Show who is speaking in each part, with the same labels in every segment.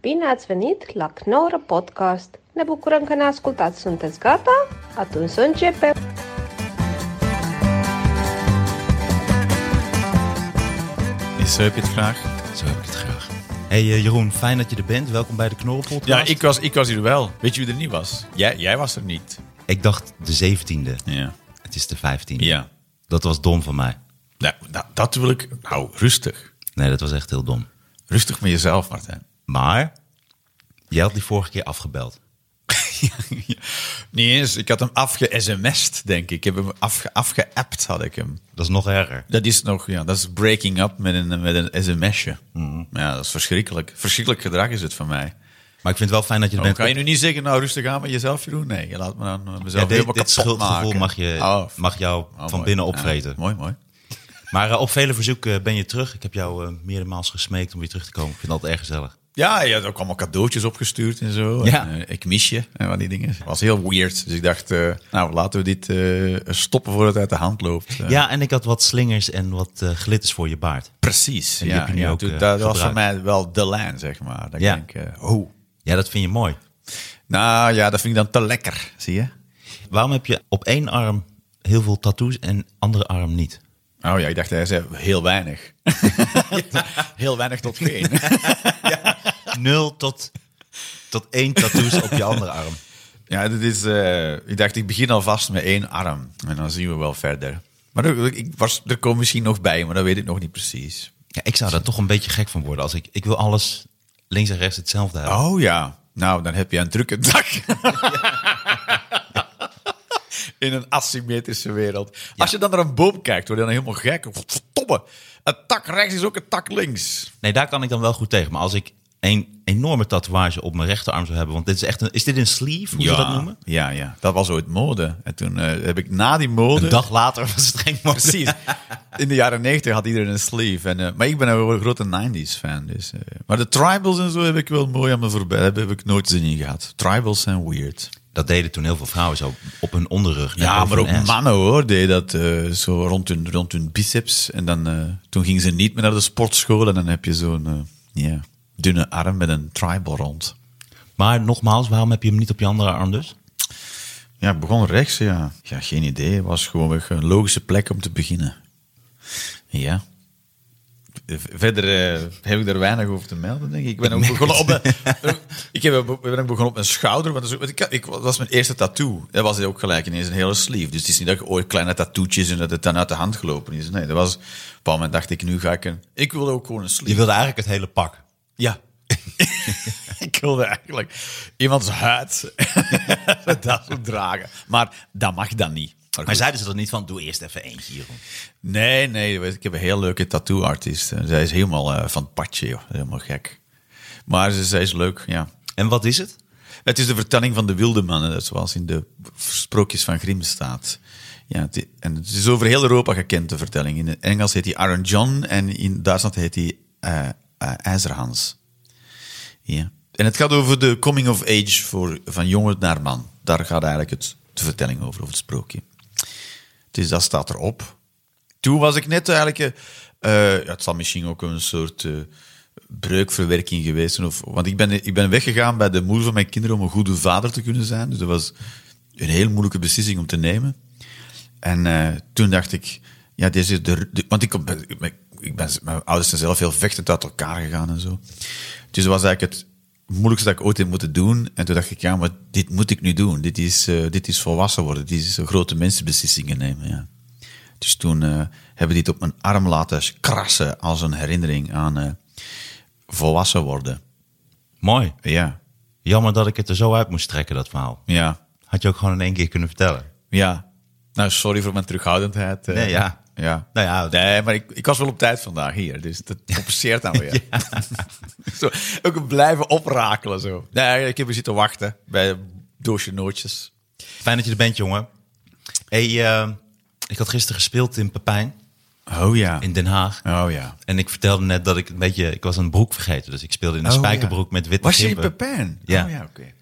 Speaker 1: Bine ați venit la Knorr Podcast! Ne bucurăm că ne ascultați. Sunteți gata? Atunci să începem!
Speaker 2: eh,
Speaker 3: Zo heb je het graag.
Speaker 2: Zo heb ik het graag.
Speaker 3: Hey eh, Jeroen, fijn dat je er bent. Welkom bij de Knorrenpodcast.
Speaker 2: Ja, ik was, ik was hier wel. Weet je wie er niet was? Jij, jij was er niet.
Speaker 3: Ik dacht de 17e.
Speaker 2: eh, Ja.
Speaker 3: Het is de 15e.
Speaker 2: Ja.
Speaker 3: Dat was dom van mij.
Speaker 2: Nou, nou, dat wil ik... Nou, rustig.
Speaker 3: Nee, dat was echt heel dom.
Speaker 2: Rustig met jezelf, Martijn.
Speaker 3: Maar jij had die vorige keer afgebeld.
Speaker 2: niet eens. Ik had hem afge-sms'd, denk ik. Ik heb hem afge afgeappt, had ik hem.
Speaker 3: Dat is nog erger.
Speaker 2: Dat is nog... Ja, dat is breaking up met een, met een sms'je. Ja, dat is verschrikkelijk. Verschrikkelijk gedrag is het van mij.
Speaker 3: Maar ik vind het wel fijn dat je er
Speaker 2: Dan
Speaker 3: bent.
Speaker 2: Oh, kan je nu niet zeggen, nou, rustig aan met jezelf, Jeroen? Nee, je laat me dan eh, mezelf
Speaker 3: Ja, dit,
Speaker 2: helemaal
Speaker 3: dit
Speaker 2: kapot
Speaker 3: schuldgevoel
Speaker 2: maken.
Speaker 3: mag, je,
Speaker 2: Oh, f-
Speaker 3: mag jou
Speaker 2: oh,
Speaker 3: van
Speaker 2: mooi.
Speaker 3: binnen
Speaker 2: Ja,
Speaker 3: opvreten.
Speaker 2: mooi, mooi.
Speaker 3: Maar eh, op vele verzoeken ben je terug. Ik heb jou eh meerdere maals gesmeekt om weer terug te komen. Ik vind dat erg gezellig.
Speaker 2: Ja, ja, er kwamen cadeautjes opgestuurd en zo.
Speaker 3: Ja.
Speaker 2: En, eh, ik mis je en wat die dingen. Het was heel weird. Dus ik dacht, eh, nou laten we dit eh, stoppen voor het uit de hand loopt. Eh,
Speaker 3: Ja, en ik had wat slingers en wat eh, glitters voor je baard.
Speaker 2: precies.
Speaker 3: die
Speaker 2: ja,
Speaker 3: heb je nu
Speaker 2: ja,
Speaker 3: ook,
Speaker 2: toen-
Speaker 3: eh,
Speaker 2: dat was voor
Speaker 3: gebruikt.
Speaker 2: mij wel de lijn, zeg maar. Dat
Speaker 3: Ja.
Speaker 2: ik denk, eh, oh,
Speaker 3: Ja, dat vind je mooi.
Speaker 2: nou ja, dat vind ik dan te lekker, zie je?
Speaker 3: Waarom heb je op één arm heel veel tattoos en andere arm niet?
Speaker 2: Oh ja, ik dacht, hij zei heel weinig. Heel weinig tot geen.
Speaker 3: Nul tot, tot één tattoos op je andere arm.
Speaker 2: Ja, dit is, eh, ik dacht, ik begin alvast met één arm. En dan zien we wel verder. Maar er, ik was, er komen misschien nog bij, maar dat weet ik nog niet precies.
Speaker 3: Ja, ik zou daar toch een beetje gek van worden. Als ik, ik wil alles links en rechts hetzelfde hebben.
Speaker 2: Oh ja, nou dan heb je een drukke dag. In een asymmetrische wereld. Als je dan naar een boom kijkt, word je dan helemaal gek. Verdomme, een tak rechts is ook een tak links.
Speaker 3: Nee, daar kan ik dan wel goed tegen. Maar als ik een enorme tatoeage op mijn rechterarm zou hebben. Want dit is echt een. Is dit een sleeve? Hoe je dat noemen?
Speaker 2: Ja, ja, dat was ooit mode. En toen eh, heb ik na die mode...
Speaker 3: Een dag later was het geen mode.
Speaker 2: Precies. In de jaren 90 had iedereen een sleeve. En, eh, maar ik ben een grote 90s fan. Dus, eh, maar de tribals en zo heb ik wel mooi aan me voorbij. Heb, heb ik nooit zin in gehad. Tribals zijn weird.
Speaker 3: Dat deden toen heel veel vrouwen zo op hun onderrug. net
Speaker 2: Ja,
Speaker 3: over
Speaker 2: maar
Speaker 3: hun
Speaker 2: ook
Speaker 3: ass.
Speaker 2: mannen hoor, deden dat eh, zo rond hun, rond hun biceps. En dan, eh, toen gingen ze niet meer naar de sportschool en dan heb je zo'n eh, ja, dunne arm met een tribal rond.
Speaker 3: Maar nogmaals, waarom heb je hem niet op je andere arm dus?
Speaker 2: Ja, ik begon rechts, ja. Ja, geen idee. Het was gewoon weer een logische plek om te beginnen. Ja. Eh, Verder eh, heb ik er weinig over te melden, denk ik. Ik ben ook begonnen op mijn, ik heb, ik ben ook begonnen op mijn schouder. Want dat, is ook- want ik, had- ik, dat was mijn eerste tattoo. Dat was ook gelijk ineens een hele sleeve. Dus het is niet dat je ooit kleine tattoetjes en dat het dan uit de hand gelopen is. Nee, dat was... Op een bepaald moment dacht ik, nu ga ik een... Ik wil ook gewoon een
Speaker 3: Je
Speaker 2: sleeve.
Speaker 3: wilde eigenlijk het hele pak.
Speaker 2: Ja. ik wilde eigenlijk iemands huid dat zo dragen. Maar dat mag dan niet. Maar
Speaker 3: Maar
Speaker 2: goed.
Speaker 3: zeiden ze er niet van, doe eerst even eentje hierom.
Speaker 2: Nee, nee. weet- Ik heb een heel leuke tattoo-artiest. En Zij is helemaal eh, van het padje, joh. Helemaal gek. Maar ze, zij is leuk, ja.
Speaker 3: En wat is het?
Speaker 2: Het is de vertelling van de wilde mannen, dat zoals in de sprookjes van Grimm staat. Ja, het i- en het is over heel Europa gekend, de vertelling. In het Engels heet hij Aaron John en in Duitsland heet hij eh, eh, IJzerhans. Ja. En het gaat over de coming of age voor, van jongen naar man. Daar gaat eigenlijk het, de vertelling over, over het sprookje. Dus dat staat erop. Toen was ik net eigenlijk... eh, eh, ja, het zal misschien ook een soort eh, breukverwerking geweest zijn. Of, want ik ben, ik ben weggegaan bij de moeder van mijn kinderen om een goede vader te kunnen zijn. Dus dat was een heel moeilijke beslissing om te nemen. En eh, toen dacht ik... Ja, dit is de, de- want ik ben, ik ben- ik ben- mijn ouders zijn zelf heel vechtend uit elkaar gegaan en zo. Dus dat was eigenlijk het moeilijkste dat ik ooit heb moeten doen. En toen dacht ik, ja, maar dit moet ik nu doen. Dit is, eh, dit is volwassen worden. Dit is eh, grote mensenbeslissingen nemen, ja. Dus toen eh, hebben die het op mijn arm laten krassen als een herinnering aan eh, volwassen worden.
Speaker 3: Mooi.
Speaker 2: Ja,
Speaker 3: Jammer dat ik het er zo uit moest trekken, dat verhaal.
Speaker 2: ja,
Speaker 3: Had je ook gewoon in één keer kunnen vertellen.
Speaker 2: ja. Nou, sorry voor mijn terughoudendheid. eh.
Speaker 3: Nee, ja.
Speaker 2: ja.
Speaker 3: Nou ja,
Speaker 2: Nee, maar ik, ik was wel op tijd vandaag hier, dus dat compenseert dan weer. zo, ook een blijven oprakelen zo. Nee, ik heb hier zitten wachten bij een doosje nootjes.
Speaker 3: fijn dat je er bent, jongen. Hey, eh, ik had gisteren gespeeld in Pepijn,
Speaker 2: Oh ja.
Speaker 3: in Den Haag.
Speaker 2: Oh ja.
Speaker 3: En ik vertelde net dat ik een beetje... Ik was een broek vergeten, dus ik speelde in een
Speaker 2: Oh,
Speaker 3: spijkerbroek
Speaker 2: ja.
Speaker 3: met witte
Speaker 2: Was je in
Speaker 3: kippen.
Speaker 2: Pepijn?
Speaker 3: Ja.
Speaker 2: Oh ja, oké.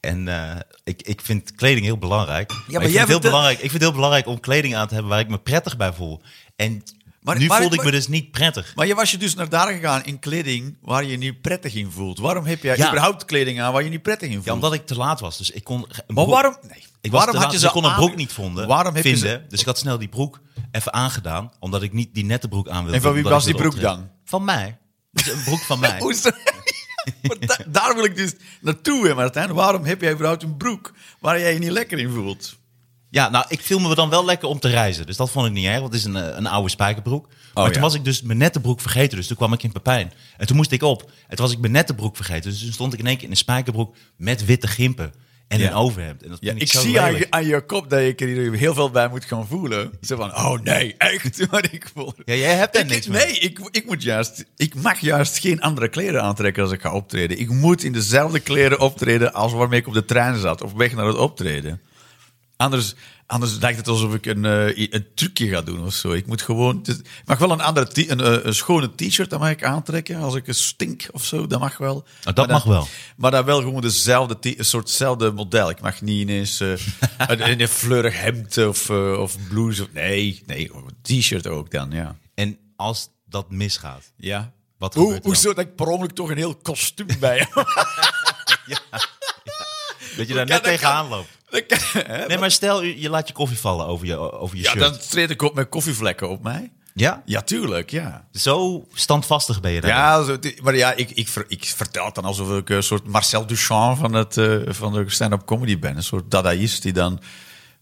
Speaker 3: En eh, ik, ik vind kleding heel belangrijk. Ja, maar,
Speaker 2: maar
Speaker 3: ik,
Speaker 2: jij
Speaker 3: vind het heel
Speaker 2: vertel-
Speaker 3: belangrijk ik vind het heel belangrijk om kleding aan te hebben waar ik me prettig bij voel. En
Speaker 2: Maar-
Speaker 3: nu
Speaker 2: maar-
Speaker 3: voelde ik
Speaker 2: maar-
Speaker 3: me dus niet prettig.
Speaker 2: Maar je was je dus naar daar gegaan in kleding waar je je niet prettig in voelt. Waarom heb jij
Speaker 3: Ja.
Speaker 2: überhaupt kleding aan waar je niet prettig in voelt?
Speaker 3: Ja, omdat ik te laat was. Dus ik kon. een
Speaker 2: Maar
Speaker 3: broek-
Speaker 2: waarom? Nee.
Speaker 3: Ik was
Speaker 2: waarom
Speaker 3: te laat, dus ik kon een
Speaker 2: aan-
Speaker 3: broek niet vonden,
Speaker 2: Waarom heb
Speaker 3: vinden.
Speaker 2: je ze?
Speaker 3: Dus ik had snel die broek even aangedaan, omdat ik niet die nette broek aan wilde.
Speaker 2: En van wie
Speaker 3: omdat
Speaker 2: was
Speaker 3: ik
Speaker 2: die
Speaker 3: wilde
Speaker 2: broek
Speaker 3: optreden. Van mij. Dus een broek van mij.
Speaker 2: Hoe is dat? Maar da- daar wil ik dus naartoe, hè, Martijn. Waarom heb jij überhaupt een broek waar jij je niet lekker in voelt?
Speaker 3: Ja, nou, ik viel me dan wel lekker om te reizen. Dus dat vond ik niet erg, want het is een, eh, een oude spijkerbroek. maar
Speaker 2: Oh, ja.
Speaker 3: toen was ik dus mijn nette broek vergeten, dus toen kwam ik in Pepijn. En toen moest ik op. En toen was ik mijn nette broek vergeten, dus toen stond ik in één keer in een spijkerbroek met witte gimpen en
Speaker 2: Ja.
Speaker 3: een overhemd. En dat
Speaker 2: Ja,
Speaker 3: vind
Speaker 2: ik
Speaker 3: ik, zo
Speaker 2: zie aan
Speaker 3: lelijk.
Speaker 2: je, aan je kop dat je er heel veel bij moet gaan voelen. Zo van, oh nee, echt. Maar ik voel...
Speaker 3: Ja, jij hebt daar
Speaker 2: Ik-
Speaker 3: niks mee.
Speaker 2: Nee, ik, ik, moet juist, ik mag juist geen andere kleren aantrekken als ik ga optreden. Ik moet in dezelfde kleren optreden als waarmee ik op de trein zat. Of weg naar het optreden. Anders, anders lijkt het alsof ik een, eh, i- een trucje ga doen of zo. Ik moet gewoon... het is- ik mag wel een, andere t- een, eh, een schone t-shirt, dat mag ik aantrekken. Als ik een stink of zo, dat mag wel.
Speaker 3: Ah, dat
Speaker 2: Maar dan-
Speaker 3: mag wel.
Speaker 2: Maar dan wel gewoon dezelfde t- een soortzelfde model. Ik mag niet ineens eh, een, een, een fleurig hemd of, eh, of blouse. Of, nee, nee, een t-shirt ook dan, ja.
Speaker 3: En als dat misgaat,
Speaker 2: Ja.
Speaker 3: Wat
Speaker 2: Hoe,
Speaker 3: gebeurt er
Speaker 2: hoezo dat ik per ongeluk toch een heel kostuum bij heb?
Speaker 3: dat je daar
Speaker 2: Ja,
Speaker 3: net
Speaker 2: dat kan.
Speaker 3: tegenaan loopt.
Speaker 2: Dat kan- hè?
Speaker 3: Nee, maar stel, je, je laat je koffie vallen over je, over je
Speaker 2: ja,
Speaker 3: shirt.
Speaker 2: dan treed ik op met koffievlekken op mij.
Speaker 3: Ja?
Speaker 2: Ja, tuurlijk, ja.
Speaker 3: Zo standvastig ben je daar.
Speaker 2: Ja, zo- maar ja, ik, ik, ver- ik vertel het dan alsof ik een soort Marcel Duchamp van, het, eh, van de stand-up comedy ben. Een soort dadaïst die dan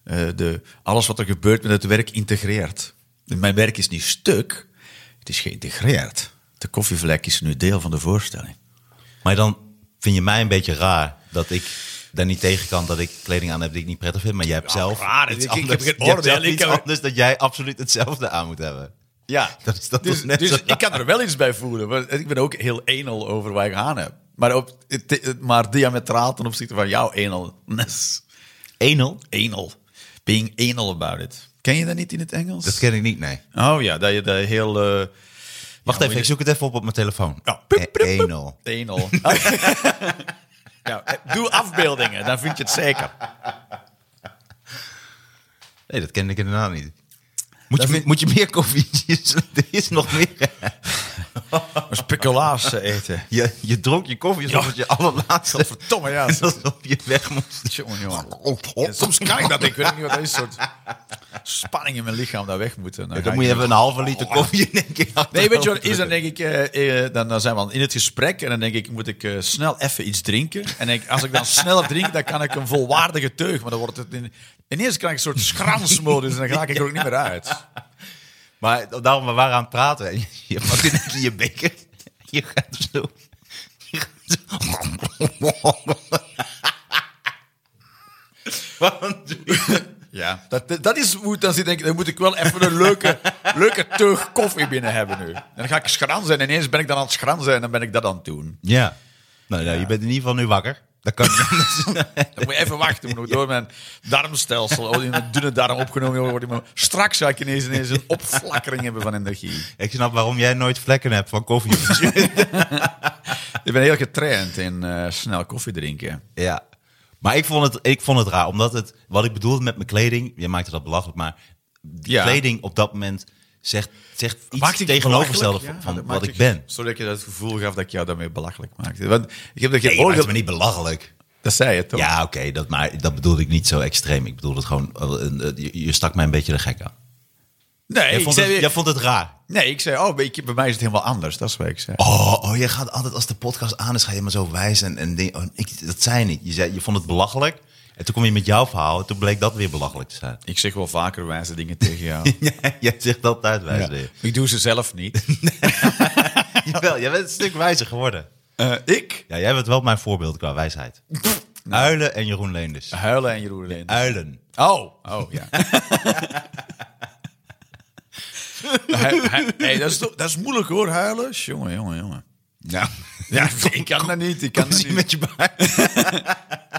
Speaker 2: eh, de, alles wat er gebeurt met het werk integreert. Mijn werk is niet stuk, het is geïntegreerd. De koffievlek is nu deel van de voorstelling.
Speaker 3: Maar dan vind je mij een beetje raar dat ik daar niet tegen kan dat ik kleding aan heb die ik niet prettig vind. Maar jij hebt zelf
Speaker 2: raar.
Speaker 3: iets
Speaker 2: Ik- ik
Speaker 3: anders.
Speaker 2: heb geen
Speaker 3: Jij hebt
Speaker 2: oordeel.
Speaker 3: zelf
Speaker 2: Ik
Speaker 3: iets
Speaker 2: heb-
Speaker 3: anders dat jij absoluut hetzelfde aan moet hebben.
Speaker 2: Ja,
Speaker 3: Dat is- dat
Speaker 2: dus,
Speaker 3: is net
Speaker 2: dus
Speaker 3: zo raar.
Speaker 2: ik kan er wel iets bij voelen. want Ik ben ook heel enel over waar ik aan heb. Maar, op, het- het- maar diametraal ten opzichte van jouw enelness.
Speaker 3: 1-0?
Speaker 2: Enel. Being anal about it. Ken je dat niet in het Engels?
Speaker 3: Dat ken ik niet, nee.
Speaker 2: Oh ja, dat je dat heel... eh,
Speaker 3: Wacht
Speaker 2: ja,
Speaker 3: even, ik zoek het even op op mijn telefoon.
Speaker 2: Ja.
Speaker 3: Eh, 1-0.
Speaker 2: Anal. Oh. ja, eh, doe afbeeldingen, dan vind je het zeker.
Speaker 3: Nee, dat ken ik inderdaad niet. Moet, je, moet je meer koffietjes? Er is nog meer.
Speaker 2: Speculaas eten.
Speaker 3: Je, je dronk je koffie alsof het je allerlaatste...
Speaker 2: Verdomme, ja.
Speaker 3: Alsof je weg moest.
Speaker 2: Jongen, jongen.
Speaker 3: Oh.
Speaker 2: Ja, soms kan ik dat, ik weet niet wat dat is. Een soort spanning in mijn lichaam dat weg moeten. Dan, ga
Speaker 3: Dan
Speaker 2: ik
Speaker 3: moet je
Speaker 2: weer-
Speaker 3: even een halve liter koffie in één keer
Speaker 2: Nee, weet je wat
Speaker 3: achterover
Speaker 2: het is? Dan
Speaker 3: drukken.
Speaker 2: denk ik, eh, eh, dan, dan zijn we al in het gesprek en dan denk ik, moet ik eh, snel even iets drinken? En denk ik, als ik dan sneller drink, dan kan ik een volwaardige teug. Maar dan wordt het in, ineens krijg ik een soort schransmodus en dan raak ik er ook niet meer uit.
Speaker 3: Maar daarom, we waren aan het praten. En je- je pakt in één keer je beker. Je gaat zo... je gaat zo- Waarom doe je dat?
Speaker 2: Ja. Dat, dat is hoe het dan zit. Denk ik, dan moet ik wel even een leuke, leuke teug koffie binnen hebben nu. En dan ga ik schransen en ineens ben ik dan aan het schransen en dan ben ik dat aan het doen.
Speaker 3: Ja. Nou, nou, je bent in ieder geval nu wakker. Dat kan niet anders.
Speaker 2: Dan moet je even wachten, moet ik door mijn darmstelsel, oh, die mijn dunne darm opgenomen wordt. in mijn- Straks zou ik ineens, ineens een opflakkering hebben van energie.
Speaker 3: Ik snap waarom jij nooit vlekken hebt van koffie. op je shirt.
Speaker 2: Ik ben heel getraind in eh, snel koffie drinken.
Speaker 3: ja. Maar ik vond, het, ik vond het raar, omdat het... Wat ik bedoelde met mijn kleding... Je maakte dat belachelijk, maar... Die
Speaker 2: Ja.
Speaker 3: kleding op dat moment zegt, zegt iets
Speaker 2: Maakte ik
Speaker 3: tegenovergestelde
Speaker 2: belachelijk?
Speaker 3: van,
Speaker 2: Ja, dat
Speaker 3: van
Speaker 2: maakte
Speaker 3: wat ik ben.
Speaker 2: Zodat je dat gevoel gaf dat ik jou daarmee belachelijk maakte. Want ik heb dat
Speaker 3: Nee,
Speaker 2: geen
Speaker 3: je maakt
Speaker 2: oordeel...
Speaker 3: me niet belachelijk.
Speaker 2: Dat zei je toch?
Speaker 3: Ja, oké, dat, maar dat bedoelde ik niet zo extreem. Ik bedoelde het gewoon, eh, een- eh, je, je stak mij een beetje de gek aan.
Speaker 2: Nee,
Speaker 3: jij,
Speaker 2: ik
Speaker 3: vond
Speaker 2: zei,
Speaker 3: het, jij vond het raar.
Speaker 2: nee, ik zei, oh, weet je, bij mij is het helemaal anders. Dat is wat ik zei.
Speaker 3: Oh, oh, je gaat altijd als de podcast aan is, ga je maar zo wijs en, en ding- oh, ik, dat zei je niet. Je, zei, je vond het belachelijk en toen kom je met jouw verhaal en toen bleek dat weer belachelijk te zijn.
Speaker 2: Ik zeg wel vaker wijze dingen tegen jou.
Speaker 3: jij zegt altijd wijs
Speaker 2: Ja.
Speaker 3: weer.
Speaker 2: Ik doe ze zelf niet.
Speaker 3: Jawel, jij bent een stuk wijzer geworden.
Speaker 2: Eh, ik?
Speaker 3: Ja, jij bent wel mijn voorbeeld qua wijsheid. Uilen en Jeroen Leenders.
Speaker 2: Huilen en Jeroen Lenders.
Speaker 3: Uilen.
Speaker 2: Oh, oh ja. Hij- hij- hey, dat, is toch- dat is moeilijk hoor, huilen. Jongen, jongen, jongen.
Speaker 3: Ja,
Speaker 2: Ja, ik kan dat niet. Ik kan, dat niet.
Speaker 3: met je baard.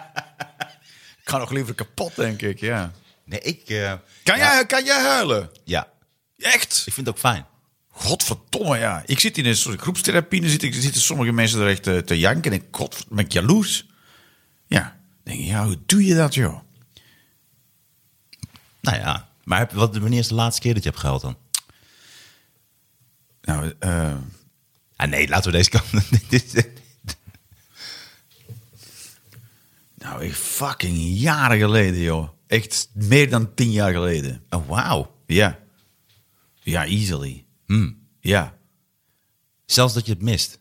Speaker 2: ik kan nog liever kapot, denk ik. Ja.
Speaker 3: Nee, ik... eh,
Speaker 2: Kan,
Speaker 3: ja,
Speaker 2: jij, kan jij huilen?
Speaker 3: Ja,
Speaker 2: Echt?
Speaker 3: ik vind het ook fijn.
Speaker 2: Godverdomme, ja. Ik zit in een soort groepstherapie. Dan zit ik- zitten sommige mensen er echt eh, te janken. En ik, god, ben ik jaloers. Ja. Dan denk ik, ja, hoe doe je dat, joh?
Speaker 3: Nou ja, maar heb- wat, wanneer is de laatste keer dat je hebt gehuild dan?
Speaker 2: Nou, eh,
Speaker 3: Ah nee, laten we deze kant. Dit is-
Speaker 2: nou, echt fucking jaren geleden, joh. Echt meer dan tien jaar geleden.
Speaker 3: oh, wauw.
Speaker 2: Ja. Ja, easily. Hmm. Ja.
Speaker 3: Zelfs dat je het mist.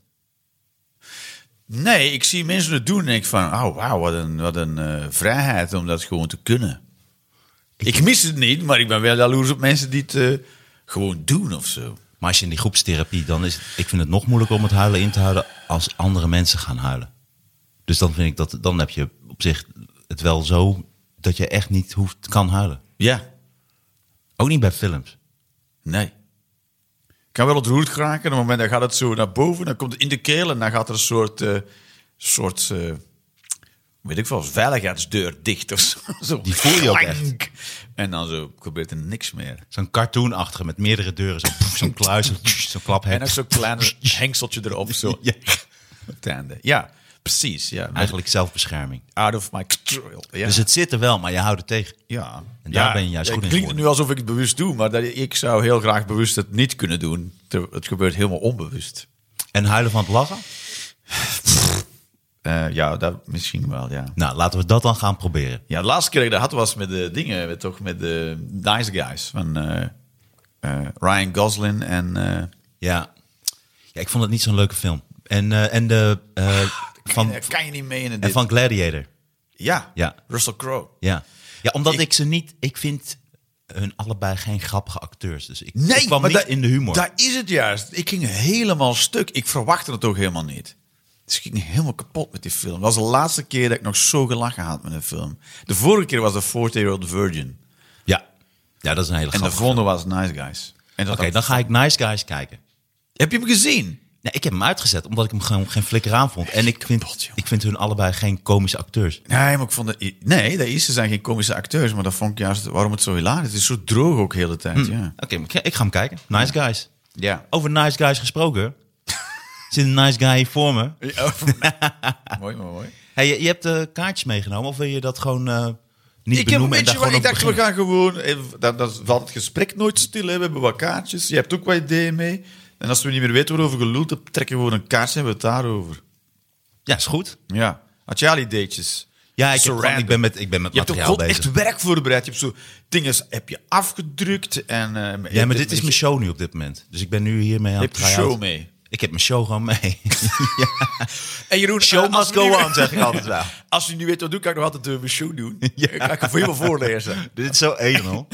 Speaker 2: Nee, ik zie mensen het doen en ik van, oh wauw, wat een, wat een eh, vrijheid om dat gewoon te kunnen. Ik mis het niet, maar ik ben wel jaloers op mensen die het eh, gewoon doen of zo.
Speaker 3: Maar als je in die groepstherapie, dan is het, ik vind het nog moeilijker om het huilen in te houden als andere mensen gaan huilen. Dus dan vind ik dat, dan heb je op zich het wel zo dat je echt niet hoeft, kan huilen.
Speaker 2: Ja,
Speaker 3: Ook niet bij films.
Speaker 2: nee. Ik kan wel ontroerd geraken, op het moment dat gaat het zo naar boven, dan komt het in de keel en dan gaat er een soort, eh, soort eh, weet ik veel, veiligheidsdeur dicht of zo. Zo
Speaker 3: Die voel je ook echt.
Speaker 2: klank. En dan zo gebeurt er niks meer.
Speaker 3: Zo'n cartoonachtige met meerdere deuren, zo- poef, zo'n kluis, zo- zo'n
Speaker 2: En
Speaker 3: klaphek.
Speaker 2: ook zo'n klein hengseltje erop, zo.
Speaker 3: Ja.
Speaker 2: op het einde. Ja, precies. Ja, Met-
Speaker 3: Eigenlijk zelfbescherming.
Speaker 2: out of my control. Ja.
Speaker 3: Dus het zit er wel, maar je houdt het tegen.
Speaker 2: ja.
Speaker 3: En daar
Speaker 2: Ja,
Speaker 3: ben je juist
Speaker 2: ja,
Speaker 3: goed
Speaker 2: het
Speaker 3: in
Speaker 2: klinkt nu alsof ik het bewust doe, maar dat, ik zou heel graag bewust het niet kunnen doen. Ter- Het gebeurt helemaal onbewust.
Speaker 3: En huilen van het lachen?
Speaker 2: Eh, ja, dat misschien wel, ja.
Speaker 3: Nou, laten we dat dan gaan proberen.
Speaker 2: Ja, de laatste keer dat ik dat had was met de dingen, met, toch met de Nice Guys van eh, eh, Ryan Gosling en... eh,
Speaker 3: Ja. ja ik vond het niet zo'n leuke film. En, eh, en de...
Speaker 2: Ah,
Speaker 3: eh, van,
Speaker 2: daar kan je niet mee in het
Speaker 3: en van Gladiator.
Speaker 2: Ja,
Speaker 3: Ja.
Speaker 2: Russell Crowe.
Speaker 3: Ja. Ja, omdat ik,
Speaker 2: Ik-
Speaker 3: ze niet... Ik vind hun allebei geen grappige acteurs. Dus ik,
Speaker 2: Nee,
Speaker 3: ik kwam
Speaker 2: maar
Speaker 3: niet
Speaker 2: daar-
Speaker 3: in de humor.
Speaker 2: Daar is het juist. Ik ging helemaal stuk. Ik verwachtte het ook helemaal niet. Dus ik ging helemaal kapot met die film. Dat was de laatste keer dat ik nog zo gelachen had met een film. De vorige keer was de 40-year-old Virgin.
Speaker 3: Ja. ja, dat is een hele
Speaker 2: En de
Speaker 3: grappige film.
Speaker 2: volgende was Nice Guys. En dat
Speaker 3: Oké, dan ga ik Nice Guys kijken.
Speaker 2: Heb je hem gezien?
Speaker 3: Nee, ik heb hem uitgezet omdat ik hem gewoon geen flikker aan vond. En ik
Speaker 2: Kapot,
Speaker 3: vind,
Speaker 2: joh.
Speaker 3: ik vind hun allebei geen komische acteurs.
Speaker 2: Nee, maar ik vond het... Nee, dat is, ze zijn geen komische acteurs. Maar dat vond ik juist waarom het zo hilarisch is. Het is zo droog ook de hele tijd, ja.
Speaker 3: Oké, maar ik- ik ga hem kijken. Nice Guys.
Speaker 2: Hm. Ja.
Speaker 3: Over Nice Guys gesproken. zit een Nice Guy hier voor me.
Speaker 2: Oh. mooi, mooi, mooi.
Speaker 3: Hey, je, je hebt de kaartjes meegenomen of wil je dat gewoon eh, niet
Speaker 2: Ik heb een
Speaker 3: benoemen en daar
Speaker 2: beetje
Speaker 3: gewoon
Speaker 2: wat, ik
Speaker 3: op
Speaker 2: dacht, we gaan
Speaker 3: beginnen?
Speaker 2: gewoon, even- dan, dan valt het gesprek nooit stil, hè. we hebben wat kaartjes, je hebt ook wat ideeën mee. En als we niet meer weten waarover geluld hebben, trekken we gewoon een kaartje en hebben we het daarover.
Speaker 3: Ja, is goed.
Speaker 2: Ja, had jij al ideetjes?
Speaker 3: Ja, ik,
Speaker 2: Zo
Speaker 3: heb gewoon- ik
Speaker 2: random.
Speaker 3: ben met, ik ben met
Speaker 2: Je hebt ook
Speaker 3: materiaal
Speaker 2: gewoon
Speaker 3: bezig.
Speaker 2: echt werk voorbereid, je hebt zo dingen heb je afgedrukt. En, eh,
Speaker 3: Ja, maar dit is
Speaker 2: je-
Speaker 3: mijn show nu op dit moment. Dus ik ben nu hiermee aan
Speaker 2: Je
Speaker 3: het
Speaker 2: hebt je
Speaker 3: try-out.
Speaker 2: show mee.
Speaker 3: Ik heb mijn show gewoon mee.
Speaker 2: En Jeroen,
Speaker 3: Show
Speaker 2: eh, als
Speaker 3: must
Speaker 2: we nu-
Speaker 3: go on, zeg ik altijd wel.
Speaker 2: Als je nu weet wat doe, kan ik nog altijd eh, mijn show doen. Ga ik het voor helemaal voorlezen.
Speaker 3: dit is zo enel.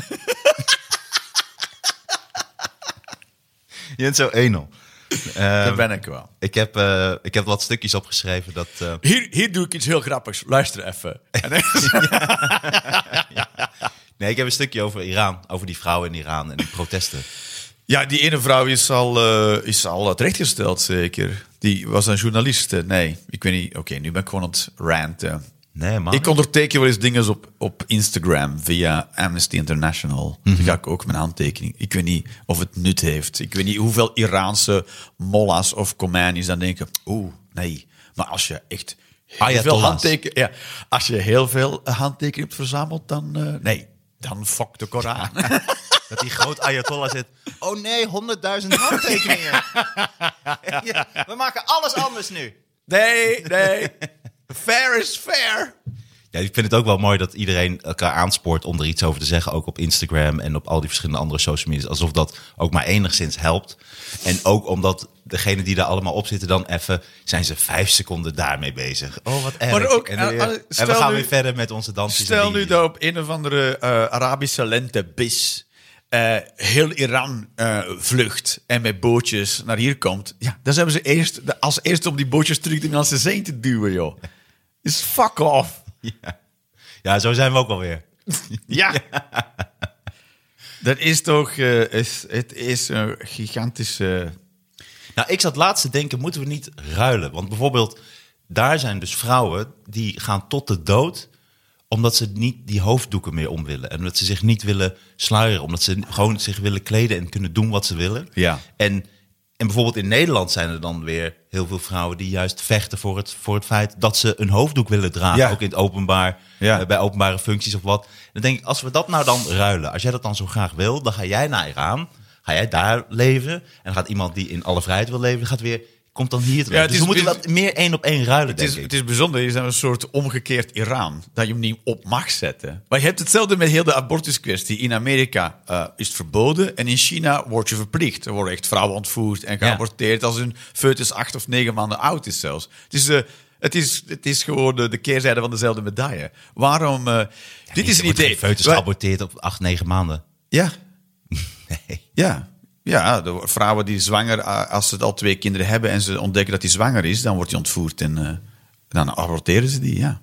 Speaker 3: Je bent zo enel. Ehm.
Speaker 2: Daar ben ik wel.
Speaker 3: Ik heb, eh, ik heb wat stukjes opgeschreven dat... eh,
Speaker 2: Hier, hier doe ik iets heel grappigs. Luister even. En dan-
Speaker 3: Nee, ik heb een stukje over Iran. Over die vrouwen in Iran en die protesten.
Speaker 2: Ja, die ene vrouw is al, eh, is al eh, terechtgesteld, zeker. Die was een journaliste. Nee, ik weet niet. Oké, nu ben ik gewoon aan het ranten.
Speaker 3: Nee, man.
Speaker 2: Ik onderteken wel eens dingen op, op Instagram via Amnesty International.
Speaker 3: Mhm.
Speaker 2: Dan ga ik ook mijn handtekening. Ik weet niet of het nut heeft. Ik weet niet hoeveel Iraanse mollahs of Khomeinis dan denken... Oeh, nee. Maar als je echt heel veel,
Speaker 3: Ayatollahs.
Speaker 2: handteken, ja, als je heel veel handtekeningen hebt verzameld, dan... eh, nee, dan fuck de Koran.
Speaker 3: Dat die groot Ayatollah zit. Oh nee, 100.000 handtekeningen. Ja, we maken alles anders nu.
Speaker 2: Nee, nee. Fair is fair.
Speaker 3: Ja, ik vind het ook wel mooi dat iedereen elkaar aanspoort om er iets over te zeggen. Ook op Instagram en op al die verschillende andere social media's. Alsof dat ook maar enigszins helpt. En ook omdat degene die daar allemaal op zitten dan even... zijn ze vijf seconden daarmee bezig. Oh, wat erg.
Speaker 2: Maar ook,
Speaker 3: en, dan
Speaker 2: eh,
Speaker 3: weer-
Speaker 2: eh,
Speaker 3: en we
Speaker 2: stel
Speaker 3: gaan
Speaker 2: nu-
Speaker 3: weer verder met onze dansjes. en
Speaker 2: Stel nu
Speaker 3: dingetjes.
Speaker 2: dat op een of andere eh, Arabische lentebis eh, heel Iran eh, vlucht en met bootjes naar hier komt. Ja, dan zijn we ze eerst, de- als eerste om die bootjes terug de Middellandse Zee te duwen, joh. Is fuck off.
Speaker 3: Ja. ja, zo zijn we ook alweer.
Speaker 2: Ja. Dat is toch, eh, is, het is een gigantische...
Speaker 3: Nou, ik zat laatst te denken, moeten we niet ruilen? Want bijvoorbeeld, daar zijn dus vrouwen die gaan tot de dood omdat ze niet die hoofddoeken meer om willen. En omdat ze zich niet willen sluieren. Omdat ze gewoon zich willen kleden en kunnen doen wat ze willen.
Speaker 2: Ja.
Speaker 3: En, en bijvoorbeeld in Nederland zijn er dan weer heel veel vrouwen... die juist vechten voor het, voor het feit dat ze een hoofddoek willen dragen.
Speaker 2: Ja.
Speaker 3: Ook in het openbaar,
Speaker 2: Ja.
Speaker 3: eh, bij openbare functies of wat. Dan denk ik, als we dat nou dan ruilen... als jij dat dan zo graag wil, dan ga jij naar Iran... ga jij daar leven. En dan gaat iemand die in alle vrijheid wil leven, gaat weer, komt dan hier te leven.
Speaker 2: Ja, het
Speaker 3: dus
Speaker 2: is-
Speaker 3: we moeten
Speaker 2: het-
Speaker 3: dat meer één op één ruilen,
Speaker 2: Het is,
Speaker 3: denk
Speaker 2: het
Speaker 3: ik.
Speaker 2: is bijzonder, je is nou een soort omgekeerd Iran, dat je hem niet op mag zetten. Maar je hebt hetzelfde met heel de abortuskwestie. In Amerika eh, is het verboden en in China word je verplicht. Er worden echt vrouwen ontvoerd en geaborteerd als hun foetus acht of negen maanden oud is zelfs. Dus eh, het, is, het is gewoon de, de keerzijde van dezelfde medaille. Waarom... eh, dit is een idee.
Speaker 3: Foetus
Speaker 2: Wij-
Speaker 3: geaborteerd op acht, negen maanden.
Speaker 2: Ja,
Speaker 3: Nee.
Speaker 2: ja. Ja, de vrouwen die zwanger, eh, als ze al twee kinderen hebben en ze ontdekken dat die zwanger is, dan wordt die ontvoerd en eh, dan aborteren ze die, ja.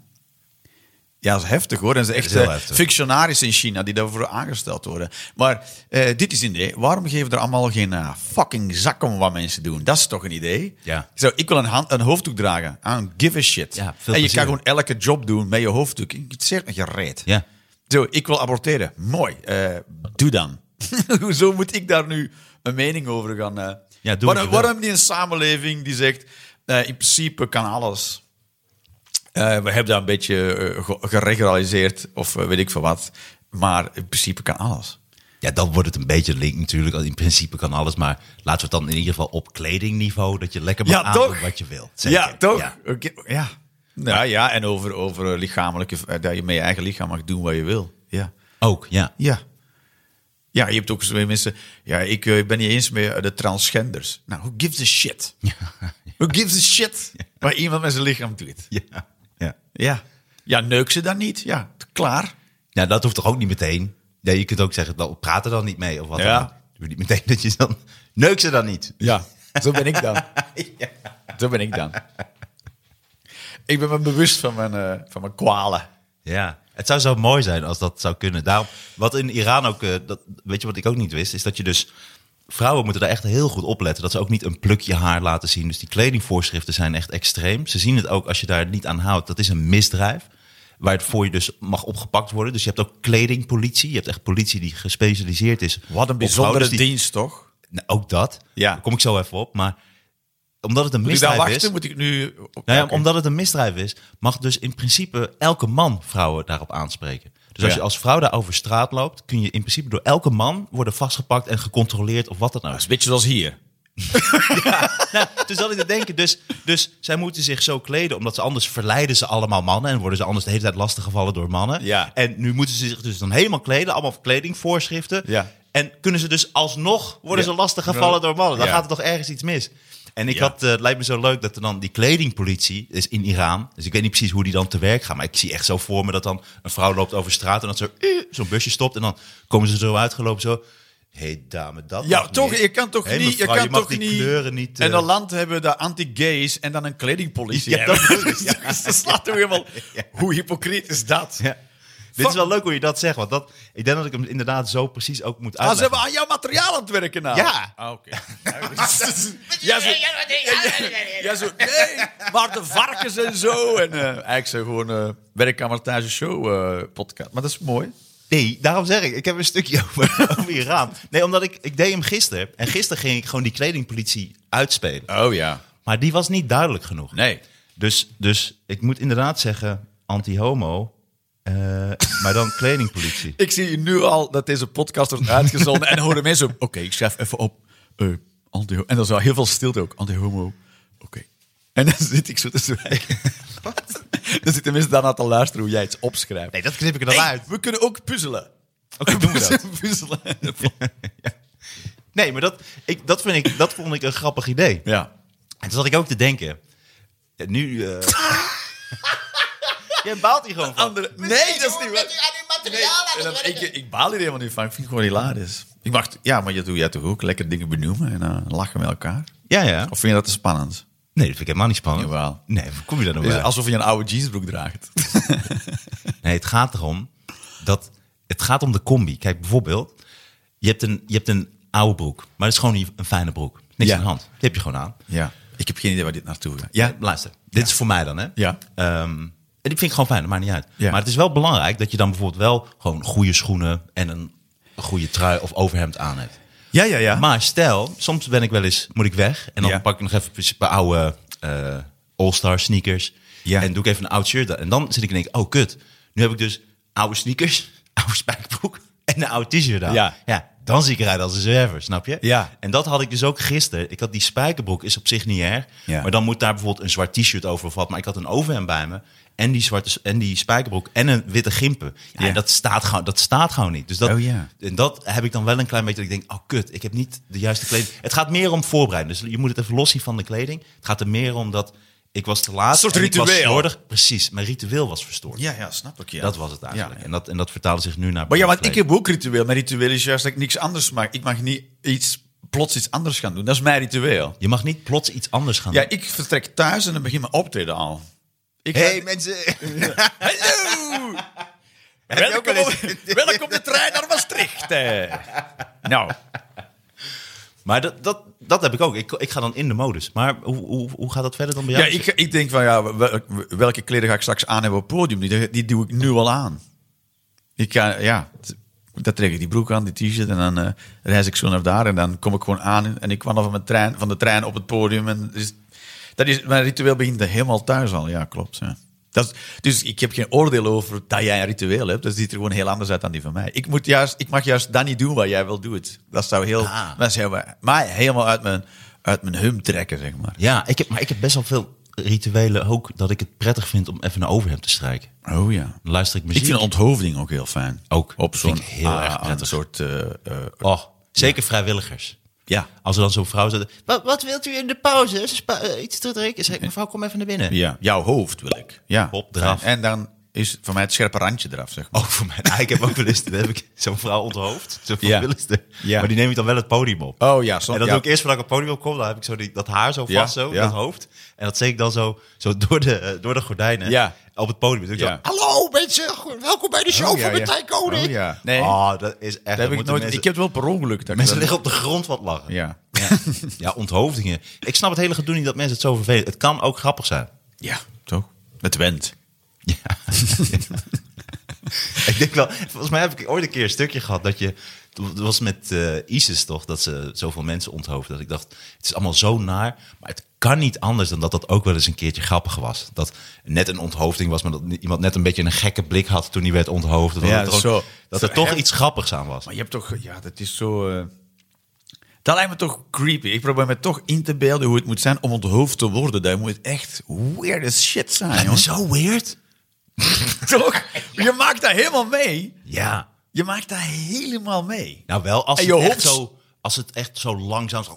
Speaker 2: Ja, dat is heftig hoor. En ze echt
Speaker 3: is heel
Speaker 2: eh,
Speaker 3: heftig.
Speaker 2: fictionarissen in China die daarvoor aangesteld worden. Maar eh, dit is een idee. Waarom geven we er allemaal geen eh, fucking zak om wat mensen doen? Dat is toch een idee?
Speaker 3: Ja.
Speaker 2: Zo, ik wil een, hand, een hoofddoek dragen. I don't give a shit.
Speaker 3: Ja, veel
Speaker 2: en je
Speaker 3: plezier.
Speaker 2: kan gewoon elke job doen met je hoofddoek. Het zegt dat je reed.
Speaker 3: Ja.
Speaker 2: Zo, ik wil aborteren. Mooi. Eh, doe dan. Hoezo moet ik daar nu een mening over gaan? eh?
Speaker 3: Ja, doe wat je
Speaker 2: waarom,
Speaker 3: wil.
Speaker 2: waarom niet een samenleving die zegt, eh, in principe kan alles. Eh, we hebben dat een beetje eh, ge- geregulariseerd of eh, weet ik veel wat. Maar in principe kan alles.
Speaker 3: Ja, dan wordt het een beetje link natuurlijk. In principe kan alles, maar laten we het dan in ieder geval op kledingniveau... dat je lekker mag aandoen wat je wil. Zeker.
Speaker 2: Ja, toch?
Speaker 3: Ja.
Speaker 2: Oké, ja. Nou ja, en over, over eh, lichamelijke... eh, dat je met je eigen lichaam mag doen wat je wil. Ja.
Speaker 3: Ook, ja.
Speaker 2: Ja. Ja, je hebt ook zo mensen. Ja, ik eh, ben niet eens meer de transgenders. Nou, who gives a shit? Who gives a shit? Waar iemand met zijn lichaam doet.
Speaker 3: Ja. ja.
Speaker 2: Ja. Ja, neuk ze dan niet? Ja, t- klaar.
Speaker 3: Ja, dat hoeft toch ook niet meteen? Ja, je kunt ook zeggen, nou, praat er dan niet mee of wat
Speaker 2: Ja.
Speaker 3: dan ook. Doe niet meteen dat je dan... Neuk ze dan niet.
Speaker 2: Ja, zo ben ik dan. Zo ben ik dan. Ik ben me bewust van mijn, eh, van mijn kwalen.
Speaker 3: Ja, het zou zo mooi zijn als dat zou kunnen. Daarom, wat in Iran ook, eh, dat, weet je wat ik ook niet wist, is dat je dus... Vrouwen moeten daar echt heel goed op letten. Dat ze ook niet een plukje haar laten zien. Dus die kledingvoorschriften zijn echt extreem. Ze zien het ook als je daar niet aan houdt. Dat is een misdrijf. Waarvoor je dus mag opgepakt worden. Dus je hebt ook kledingpolitie. Je hebt echt politie die gespecialiseerd is.
Speaker 2: Wat een
Speaker 3: op
Speaker 2: bijzondere
Speaker 3: vrouwen. Dus die-
Speaker 2: dienst, toch?
Speaker 3: Nou, ook dat.
Speaker 2: Ja.
Speaker 3: Daar kom ik zo even op. Maar omdat het een
Speaker 2: Moet ik daar
Speaker 3: misdrijf
Speaker 2: wachten?
Speaker 3: is.
Speaker 2: Moet ik nu... op-
Speaker 3: Nou ja,
Speaker 2: Oké.
Speaker 3: Omdat het een misdrijf is, mag dus in principe elke man vrouwen daarop aanspreken. Dus als
Speaker 2: Ja.
Speaker 3: je als vrouw daar over straat loopt, kun je in principe door elke man worden vastgepakt en gecontroleerd of wat dat nou
Speaker 2: Dat is
Speaker 3: is.
Speaker 2: een beetje zoals hier.
Speaker 3: nou, toen zat ik te denken, dus, dus zij moeten zich zo kleden, omdat ze anders verleiden ze allemaal mannen en worden ze anders de hele tijd lastiggevallen door mannen.
Speaker 2: Ja.
Speaker 3: En nu moeten ze zich dus dan helemaal kleden, allemaal kledingvoorschriften.
Speaker 2: Ja.
Speaker 3: En kunnen ze dus alsnog worden
Speaker 2: Ja.
Speaker 3: ze lastiggevallen door mannen. Dan
Speaker 2: Ja.
Speaker 3: gaat er toch ergens iets mis. En ik
Speaker 2: Ja.
Speaker 3: had, eh, het lijkt me zo leuk dat er dan die kledingpolitie is in Iran. Dus ik weet niet precies hoe die dan te werk gaan. Maar ik zie echt zo voor me dat dan een vrouw loopt over straat en dat ze eh, zo'n busje stopt. En dan komen ze zo uitgelopen zo. Hé hey, dame, dat
Speaker 2: Ja,
Speaker 3: mag
Speaker 2: toch,
Speaker 3: niet.
Speaker 2: je kan toch
Speaker 3: Hé,
Speaker 2: niet...
Speaker 3: mevrouw,
Speaker 2: je kan
Speaker 3: mag
Speaker 2: toch
Speaker 3: die
Speaker 2: niet,
Speaker 3: kleuren niet...
Speaker 2: En
Speaker 3: eh,
Speaker 2: een land hebben dat anti-gays en dan een kledingpolitie.
Speaker 3: Ja,
Speaker 2: hebben.
Speaker 3: dat-
Speaker 2: Dus dat slaat toch helemaal... Hoe hypocriet is dat?
Speaker 3: Ja. Dit is wel leuk hoe je dat zegt, want dat, ik denk dat ik hem inderdaad zo precies ook moet
Speaker 2: Ah, ze
Speaker 3: uitleggen.
Speaker 2: hebben aan jouw materiaal aan het werken nou.
Speaker 3: Ja.
Speaker 2: Ah, oké. ja, zo, ja, zo, nee, maar de varkens en zo. En eh, eigenlijk zo gewoon eh werkkamertage show eh, podcast. Maar dat is mooi.
Speaker 3: Nee, daarom zeg ik, ik heb een stukje over, over Iran. Nee, omdat ik, ik deed hem gisteren. En gisteren ging ik gewoon die kledingpolitie uitspelen.
Speaker 2: Oh ja.
Speaker 3: Maar die was niet duidelijk genoeg.
Speaker 2: Nee.
Speaker 3: Dus, dus ik moet inderdaad zeggen, anti-homo, eh, maar dan kledingpolitie.
Speaker 2: Ik zie nu al dat deze podcast wordt uitgezonden en horen mensen ook, Oké, ik schrijf even op. eh, anti en dan is wel heel veel stilte ook. Anti-homo. Oké. En dan zit ik zo te zwijgen. Dan zitten mensen daarna te luisteren hoe jij iets opschrijft.
Speaker 3: Nee, dat knip ik er dan
Speaker 2: Hey,
Speaker 3: uit.
Speaker 2: we kunnen ook puzzelen.
Speaker 3: Oké, doen we dat.
Speaker 2: puzzelen.
Speaker 3: Nee, maar dat, ik, dat, vind ik, dat vond ik een grappig idee.
Speaker 2: ja.
Speaker 3: En toen zat ik ook te denken, eh, nu... eh, Jij baalt hier gewoon van.
Speaker 2: Andere, nee, dat is niet waar. Nee, en dan- ik, ik baal hier helemaal niet van. Ik vind het gewoon hilarisch. Ik mag, ja, maar je doet jij toch ook lekker dingen benoemen en eh, lachen met elkaar?
Speaker 3: Ja, ja.
Speaker 2: Of vind je dat te spannend?
Speaker 3: Nee, dat vind ik helemaal niet spannend.
Speaker 2: Jawel.
Speaker 3: Nee, hoe kom je daar nou
Speaker 2: Is
Speaker 3: bij?
Speaker 2: het alsof je een oude jeansbroek draagt.
Speaker 3: Nee, het gaat erom dat het gaat om de combi. Kijk, bijvoorbeeld, je hebt een, je hebt een oude broek, maar het is gewoon een fijne broek. Niks
Speaker 2: Ja.
Speaker 3: aan de hand. Die heb je gewoon aan.
Speaker 2: Ja. Ik heb geen idee waar dit naartoe gaat.
Speaker 3: Ja, luister. Dit is voor mij dan, hè?
Speaker 2: Ja.
Speaker 3: Ehm, en die vind ik gewoon fijn, dat maakt niet uit.
Speaker 2: Ja.
Speaker 3: Maar het is wel belangrijk dat je dan bijvoorbeeld wel gewoon goede schoenen en een goede trui of overhemd aan hebt.
Speaker 2: Ja, ja, ja.
Speaker 3: Maar stel, soms ben ik wel eens, moet ik weg. En dan
Speaker 2: Ja.
Speaker 3: pak ik nog even een paar oude eh, All-Star sneakers.
Speaker 2: Ja.
Speaker 3: En doe ik even een oud shirt. aan. En dan zit ik en denk, oh kut. Nu heb ik dus oude sneakers, oude spijkerbroek en een oud t-shirt aan.
Speaker 2: Ja.
Speaker 3: ja. dan zie ik eruit als een zwerver, snap je?
Speaker 2: Ja.
Speaker 3: En dat had ik dus ook gisteren. Ik had die spijkerbroek, is op zich niet erg.
Speaker 2: Ja.
Speaker 3: Maar dan moet daar bijvoorbeeld een zwart t-shirt over of wat. Maar ik had een overhemd bij me. En die, zwarte, en die spijkerbroek en een witte gimpen. Ja,
Speaker 2: Ja.
Speaker 3: En dat staat, gewoon, dat staat gewoon niet. Dus dat,
Speaker 2: Oh ja.
Speaker 3: En dat heb ik dan wel een klein beetje. Dat ik denk, oh kut, ik heb niet de juiste kleding. Het gaat meer om voorbereiding. Dus je moet het even los zien van de kleding. Het gaat er meer om dat ik was te laat.
Speaker 2: Een soort
Speaker 3: en ik was
Speaker 2: ritueel.
Speaker 3: slordig. Precies, mijn ritueel was verstoord.
Speaker 2: Ja, ja, snap ik. Ja.
Speaker 3: Dat was het eigenlijk.
Speaker 2: Ja,
Speaker 3: En, dat, en dat vertaalde zich nu naar.
Speaker 2: Maar ja, want ik
Speaker 3: kleding.
Speaker 2: heb ook ritueel. Mijn ritueel is juist dat ik niks anders maak. Ik mag niet iets, plots iets anders gaan doen. Dat is mijn ritueel.
Speaker 3: Je mag niet plots iets anders gaan
Speaker 2: Ja, ik vertrek thuis en dan begin mijn optreden al. Ik
Speaker 3: Hey,
Speaker 2: mensen. Hallo.
Speaker 3: ook wel
Speaker 2: Welkom op,
Speaker 3: eens-
Speaker 2: welkom op de trein naar Maastricht. hè. Nou,
Speaker 3: Maar dat, dat, dat heb ik ook. Ik, ik ga dan in de modus. Maar hoe, hoe, hoe gaat dat verder dan bij
Speaker 2: ja,
Speaker 3: jou?
Speaker 2: ik, ik denk van ja, wel- welke kleren ga ik straks aan hebben op het podium? Die, die doe ik nu al aan. Ik ga, ja, t- dan trek ik die broek aan, die t-shirt en dan eh, reis ik zo naar daar en dan kom ik gewoon aan en ik kwam van, mijn trein, van de trein op het podium. En er is, dat is, mijn ritueel begint dan helemaal thuis al, ja, klopt. Ja. Dat is, dus ik heb geen oordeel over dat jij een ritueel hebt. Dat ziet er gewoon heel anders uit dan die van mij. Ik, moet juist, ik mag juist dat niet doen wat jij wil doen. Dat zou heel,
Speaker 3: Ah.
Speaker 2: dat zou mij helemaal uit mijn, uit mijn hum trekken, zeg maar.
Speaker 3: ja ik heb, maar ik heb best wel veel rituelen ook dat ik het prettig vind om even een overhemd te strijken.
Speaker 2: Oh ja.
Speaker 3: Dan luister ik muziek.
Speaker 2: Ik vind onthoofding ook heel fijn.
Speaker 3: Ook.
Speaker 2: Op
Speaker 3: Vind
Speaker 2: zo'n
Speaker 3: ik heel
Speaker 2: ah,
Speaker 3: erg
Speaker 2: aan
Speaker 3: prettig.
Speaker 2: Een soort. eh, eh,
Speaker 3: oh, zeker vrijwilligers.
Speaker 2: ja.
Speaker 3: Als er dan zo'n vrouw zegt, wat, wat wilt u in de pauze? Spa- eh, iets te drinken? Zeg ik, mevrouw, kom even naar binnen.
Speaker 2: ja. Jouw hoofd wil ik. Ja.
Speaker 3: Hop, eraf.
Speaker 2: En dan is voor mij het scherpe randje eraf, zeg maar.
Speaker 3: Ook voor mij. Ah, ik heb ook wel eens, dan heb ik zo'n vrouw onthoofd. Zo'n
Speaker 2: Ja.
Speaker 3: vrijwilligster.
Speaker 2: Ja.
Speaker 3: Maar die neem ik dan wel het podium op.
Speaker 2: Oh ja, soms.
Speaker 3: en dat
Speaker 2: ja.
Speaker 3: doe ik eerst voordat ik op het podium kom. Dan heb ik zo die, dat haar zo vast,
Speaker 2: Ja,
Speaker 3: zo,
Speaker 2: ja.
Speaker 3: dat hoofd. En dat steek ik dan zo, zo door, de, eh, door de gordijnen
Speaker 2: Ja.
Speaker 3: op het podium. Dan doe ik
Speaker 2: Ja.
Speaker 3: zo, Hallo mensen, go- welkom bij de show
Speaker 2: Oh, ja,
Speaker 3: van
Speaker 2: ja.
Speaker 3: Martijn Koning.
Speaker 2: Oh, ja. Nee.
Speaker 3: Ah, dat is echt...
Speaker 2: Dat heb ik,
Speaker 3: moeten
Speaker 2: nooit,
Speaker 3: mensen,
Speaker 2: ik heb het wel per ongeluk. Dat ik
Speaker 3: mensen
Speaker 2: dat-
Speaker 3: liggen op de grond wat lachen.
Speaker 2: Ja.
Speaker 3: Ja. Ja, onthoofdingen. Ik snap het hele gedoe niet dat mensen het zo vervelen. Het kan ook grappig zijn.
Speaker 2: ja, toch? Het went.
Speaker 3: Ja. ik denk wel, volgens mij heb ik ooit een keer een stukje gehad dat je. Het was met eh, ISIS toch, dat ze zoveel mensen onthoofden. Dat ik dacht, het is allemaal zo naar. Maar het kan niet anders dan dat dat ook wel eens een keertje grappig was. Dat net een onthoofding was, maar dat iemand net een beetje een gekke blik had toen hij werd onthoofd. Dat,
Speaker 2: Ja,
Speaker 3: het gewoon-
Speaker 2: zo.
Speaker 3: dat
Speaker 2: Zo
Speaker 3: er toch
Speaker 2: erg.
Speaker 3: iets grappigs aan was.
Speaker 2: Maar je hebt toch, ja, dat is zo. eh, dat lijkt me toch creepy. Ik probeer me toch in te beelden hoe het moet zijn om onthoofd te worden. Dat moet echt weird as shit zijn,
Speaker 3: En
Speaker 2: jongen.
Speaker 3: zo weird.
Speaker 2: toch? Je maakt dat helemaal mee.
Speaker 3: Ja.
Speaker 2: Je maakt dat helemaal mee.
Speaker 3: Nou wel, als
Speaker 2: En
Speaker 3: het,
Speaker 2: je
Speaker 3: echt
Speaker 2: hoofd-
Speaker 3: zo, als het echt zo langzaam... Zo,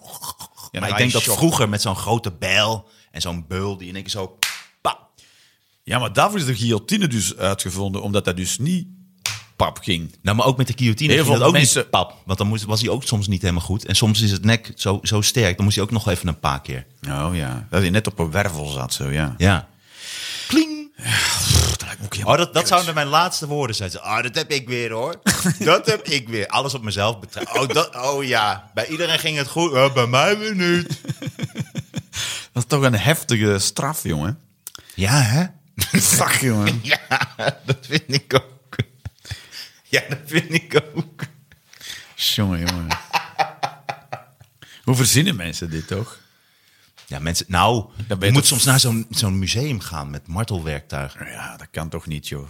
Speaker 2: dan
Speaker 3: maar
Speaker 2: ga
Speaker 3: ik
Speaker 2: je
Speaker 3: denk dat
Speaker 2: shock.
Speaker 3: vroeger met zo'n grote bijl en zo'n beul... die in één keer zo... pap,
Speaker 2: Ja, maar daarvoor is de guillotine dus uitgevonden, omdat dat dus niet pap ging.
Speaker 3: Nou, maar ook met de guillotine
Speaker 2: Heel
Speaker 3: ging dat
Speaker 2: veel
Speaker 3: ook niet
Speaker 2: mensen-
Speaker 3: pap. Want dan moest, was hij ook soms niet helemaal goed. En soms is het nek zo, zo sterk. Dan moest hij ook nog even een paar keer.
Speaker 2: Oh ja, dat hij net op een wervel zat zo, ja.
Speaker 3: Ja. Kling.
Speaker 2: Pff, dat lijkt me ook helemaal
Speaker 3: Oh, dat, dat
Speaker 2: kut.
Speaker 3: zouden mijn laatste woorden zijn. Ze, Ah, dat heb ik weer hoor. dat heb ik weer. Alles op mezelf betrekken. Oh, dat, oh ja, bij iedereen ging het goed. Eh, bij mij weer niet.
Speaker 2: Dat is toch een heftige straf, jongen.
Speaker 3: Ja, hè?
Speaker 2: Fuck, jongen.
Speaker 3: Ja, dat vind ik ook. Ja, dat vind ik ook.
Speaker 2: jongen, jongen. Hoe verzinnen mensen dit toch?
Speaker 3: Ja, mensen, nou,
Speaker 2: ben je
Speaker 3: je moet
Speaker 2: toch-
Speaker 3: soms naar zo'n zo'n museum gaan met martelwerktuigen.
Speaker 2: Ja, dat kan toch niet, joh.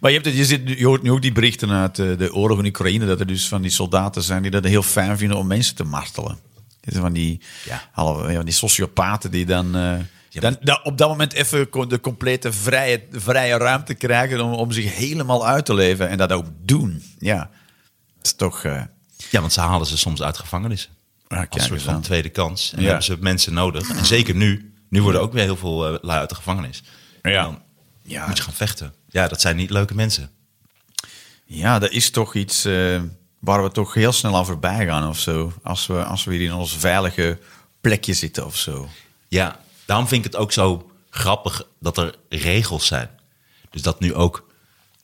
Speaker 2: Maar je, hebt het, je, zit, nu- je hoort nu ook die berichten uit eh, de oorlog in Oekraïne, dat er dus van die soldaten zijn die dat heel fijn vinden om mensen te martelen. Dit zijn Van die,
Speaker 3: Ja.
Speaker 2: halve- ja, van die sociopaten die dan, eh,
Speaker 3: Ja,
Speaker 2: dan, dan op dat moment even co- de complete vrije, vrije ruimte krijgen om, om zich helemaal uit te leven en dat ook doen. Ja, dat is toch... eh,
Speaker 3: Ja, want ze halen ze soms uit gevangenissen.
Speaker 2: Ja,
Speaker 3: Als
Speaker 2: kijk
Speaker 3: een soort
Speaker 2: eens
Speaker 3: van
Speaker 2: aan.
Speaker 3: tweede kans. En dan
Speaker 2: Ja.
Speaker 3: hebben ze mensen nodig. En zeker nu. Nu worden ook weer heel veel eh, lui uit de gevangenis. En
Speaker 2: Ja.
Speaker 3: Dan
Speaker 2: ja,
Speaker 3: moet je gaan vechten. Ja, dat zijn niet leuke mensen.
Speaker 2: Ja, dat is toch iets eh, waar we toch heel snel aan voorbij gaan of zo. Als we, als we hier in ons veilige plekje zitten of zo.
Speaker 3: Ja, daarom vind ik het ook zo grappig dat er regels zijn. Dus dat nu ook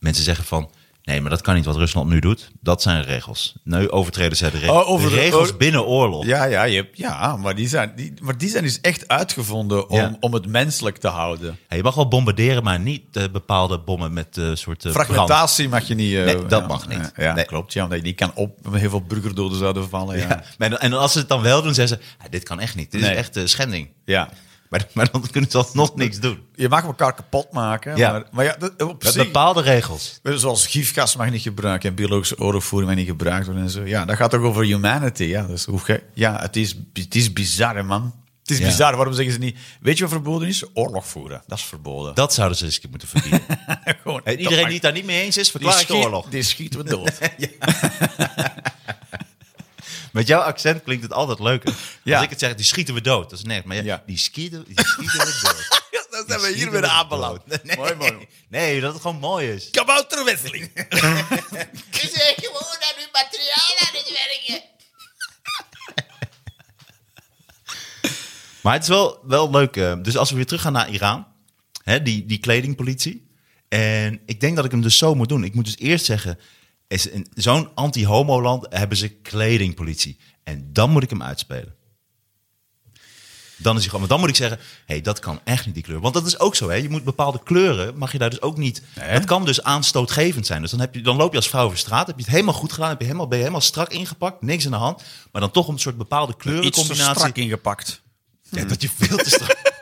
Speaker 3: mensen zeggen van... Nee, maar dat kan niet wat Rusland nu doet. Dat zijn regels. Nu overtreden zij de regels.
Speaker 2: Oh, over
Speaker 3: de
Speaker 2: de-
Speaker 3: regels
Speaker 2: oh.
Speaker 3: binnen oorlog.
Speaker 2: Ja, ja, je hebt, ja maar, die zijn, die, maar die zijn dus echt uitgevonden om,
Speaker 3: Ja.
Speaker 2: om het menselijk te houden.
Speaker 3: Ja, je mag wel bombarderen, maar niet eh, bepaalde bommen met eh soorten brand.
Speaker 2: Fragmentatie mag je niet... eh,
Speaker 3: Nee, dat
Speaker 2: ja,
Speaker 3: mag niet.
Speaker 2: Ja,
Speaker 3: Nee.
Speaker 2: klopt. Ja, omdat je niet kan op heel veel burgerdoden zouden vallen. Ja.
Speaker 3: Ja. Maar dan- En als ze het dan wel doen, zeggen ze... "Ah, dit kan echt niet. Dit
Speaker 2: Nee.
Speaker 3: is echt eh, schending.
Speaker 2: Ja.
Speaker 3: Maar, maar dan kunnen ze alsnog niks doen.
Speaker 2: Je mag elkaar kapot maken.
Speaker 3: Ja.
Speaker 2: Maar, maar ja, dat- op
Speaker 3: Met
Speaker 2: zich-
Speaker 3: bepaalde regels.
Speaker 2: Zoals gifgas mag niet gebruiken en biologische oorlogvoering mag niet gebruikt worden en zo. Ja, dat gaat toch over humanity. Ja, dus hoe ge- ja het, is, het is bizar, hè, man. Het is
Speaker 3: Ja.
Speaker 2: bizar. Waarom zeggen ze niet... Weet je wat verboden is? Oorlog voeren. Dat is verboden.
Speaker 3: Dat zouden ze eens moeten verbieden.
Speaker 2: Gewoon,
Speaker 3: En
Speaker 2: dat
Speaker 3: iedereen
Speaker 2: mag-
Speaker 3: die het daar niet mee eens is,
Speaker 2: die
Speaker 3: verklaar ik oorlog.
Speaker 2: schiet, die schieten we dood.
Speaker 3: Met jouw accent klinkt het altijd leuker.
Speaker 2: Ja.
Speaker 3: Als ik het zeg, die schieten we dood. Dat is net. Maar ja,
Speaker 2: Ja.
Speaker 3: die, schieten, die schieten we dood.
Speaker 2: Ja, dan
Speaker 3: Die
Speaker 2: zijn we hier
Speaker 3: schieten
Speaker 2: weer
Speaker 3: we
Speaker 2: aanbeland.
Speaker 3: dood. Nee.
Speaker 2: Mooi, mooi.
Speaker 3: Nee, dat het gewoon mooi is.
Speaker 2: Kabouter Wesley.
Speaker 4: Is er gewoon aan uw materiaal aan het werken?
Speaker 3: Maar het is wel, wel leuk. eh, dus als we weer teruggaan naar Iran, hè, die, die kledingpolitie. En ik denk dat ik hem dus zo moet doen. Ik moet dus eerst zeggen, is in zo'n anti-homo-land hebben ze kledingpolitie. En dan moet ik hem uitspelen. Dan is hij gewoon. Maar dan moet ik zeggen, hé, hey, dat kan echt niet die kleur. Want dat is ook zo, hè. Je moet bepaalde kleuren, mag je daar dus ook niet.
Speaker 2: Nee.
Speaker 3: Dat kan dus aanstootgevend zijn. Dus dan, heb je, dan loop je als vrouw over straat, heb je het helemaal goed gedaan, heb je helemaal, ben je helemaal strak ingepakt, niks aan de hand. Maar dan toch om een soort bepaalde
Speaker 2: Iets te
Speaker 3: kleurencombinatie.
Speaker 2: strak ingepakt.
Speaker 3: Ja, dat je veel te strak...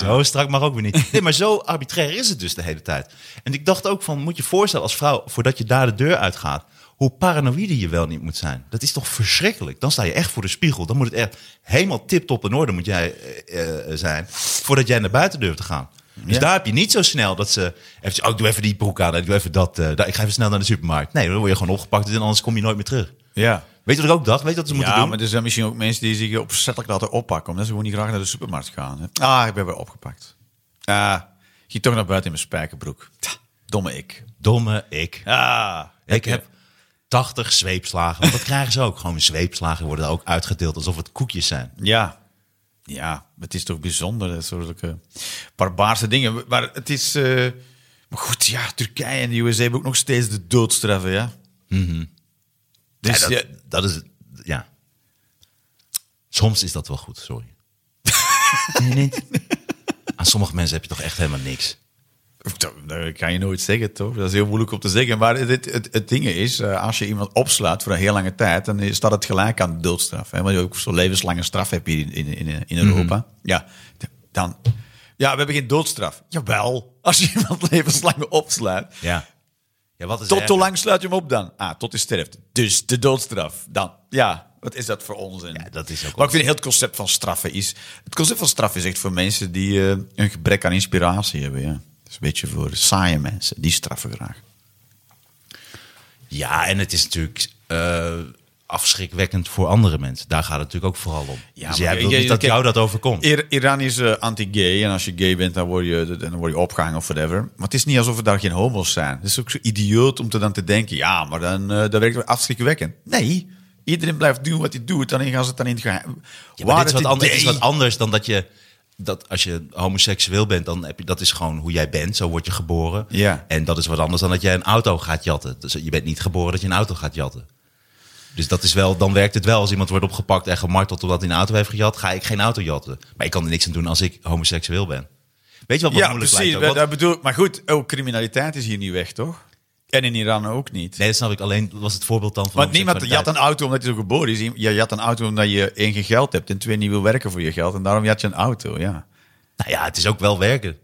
Speaker 3: Zo strak mag ook weer niet. Nee, maar zo arbitrair is het dus de hele tijd. En ik dacht ook van, moet je voorstellen als vrouw... voordat je daar de deur uitgaat... hoe paranoïde je wel niet moet zijn. Dat is toch verschrikkelijk? Dan sta je echt voor de spiegel. Dan moet het echt helemaal tip-top in orde moet jij, eh, eh, zijn... voordat jij naar buiten durft te gaan. Dus
Speaker 2: Ja.
Speaker 3: daar heb je niet zo snel dat ze... Even, oh, ik doe even die broek aan. Ik, doe even dat, eh, daar- ik ga even snel naar de supermarkt. Nee, dan word je gewoon opgepakt... en anders kom je nooit meer terug.
Speaker 2: Ja.
Speaker 3: Weet je wat ik ook dacht? Weet je wat ze moeten
Speaker 2: ja,
Speaker 3: doen?
Speaker 2: maar er zijn misschien ook mensen die zich opzettelijk laten oppakken. Omdat ze gewoon niet graag naar de supermarkt gaan. Hè. Ah, ik ben weer opgepakt. Ah, ging toch naar buiten in mijn spijkerbroek. Tja, Domme ik.
Speaker 3: Domme ik.
Speaker 2: Ah,
Speaker 3: Ik heb 80 zweepslagen. Want dat krijgen ze ook. Gewoon zweepslagen worden daar ook uitgedeeld alsof het koekjes zijn.
Speaker 2: Ja. Ja, het is toch bijzonder, hè, zulke barbaarse dingen. Maar het is... eh, maar goed, ja, Turkije en de USA hebben ook nog steeds de doodstraf, hè, ja. Dus
Speaker 3: Mhm. ja,
Speaker 2: ja,
Speaker 3: dat, dat is het. Ja. Soms is dat wel goed, sorry. Nee, nee. Aan sommige mensen heb je toch echt helemaal niks.
Speaker 2: Dat, dat kan je nooit zeggen, toch? Dat is heel moeilijk om te zeggen. Maar het, het, het ding is, eh, als je iemand opslaat voor een heel lange tijd, dan staat het gelijk aan de doodstraf. Hè? Want je ook zo'n levenslange straf hebt hier in, in, in,
Speaker 3: Mhm.
Speaker 2: in Europa. Ja, d- dan... Ja, we hebben geen doodstraf. Jawel, als je iemand levenslang opslaat.
Speaker 3: Ja. ja wat is
Speaker 2: Tot
Speaker 3: er-
Speaker 2: hoe lang sluit je hem op dan? Ah, tot hij sterft. Dus de doodstraf. Dan. Ja, wat is dat voor onzin?
Speaker 3: Ja, dat is ook
Speaker 2: maar ik vind heel het concept van straffen is... Het concept van straffen is echt voor mensen die eh, een gebrek aan inspiratie hebben. Ja. Dat is een beetje voor saaie mensen. Die straffen graag.
Speaker 3: Ja, en het is natuurlijk eh, afschrikwekkend voor andere mensen. Daar gaat het natuurlijk ook vooral om.
Speaker 2: Ja, maar
Speaker 3: dus jij
Speaker 2: je-
Speaker 3: wilt
Speaker 2: je-
Speaker 3: niet dat
Speaker 2: kijk,
Speaker 3: jou dat overkomt.
Speaker 2: Ir- Iran is eh, anti-gay. En als je gay bent, dan word je, dan word je opgehangen of whatever. Maar het is niet alsof er daar geen homo's zijn. Het is ook zo idioot om te dan te denken... Ja, maar dan, eh dat werkt wel afschrikwekkend. Nee, iedereen blijft doen wat hij doet. Dan gaan ze het dan in het geheim...
Speaker 3: Ja, maar dit is
Speaker 2: het
Speaker 3: wat, anders, dit is
Speaker 2: idee-
Speaker 3: wat anders dan dat je... Dat als je homoseksueel bent, dan heb je, dat is gewoon hoe jij bent. Zo word je geboren.
Speaker 2: Ja.
Speaker 3: En dat is wat anders dan dat jij een auto gaat jatten. Dus je bent niet geboren dat je een auto gaat jatten. Dus dat is wel, dan werkt het wel. Als iemand wordt opgepakt en gemarteld omdat hij een auto heeft gejat, ga ik geen auto jatten. Maar ik kan er niks aan doen als ik homoseksueel ben. Weet je wat, wat
Speaker 2: Ja,
Speaker 3: moeilijk
Speaker 2: precies.
Speaker 3: lijkt? ook?
Speaker 2: dat bedoel, ik. maar goed, eh, ook criminaliteit is hier niet weg, toch? En in Iran ook niet.
Speaker 3: nee, dat snap ik. Alleen dat was het voorbeeld dan van.
Speaker 2: Want niemand jat een
Speaker 3: homoseksualiteit.
Speaker 2: auto omdat hij zo geboren is. Je jat een auto omdat je één geen geld hebt en twee niet wil werken voor je geld. En daarom jat je een auto, ja.
Speaker 3: Nou ja, het is ook wel werken.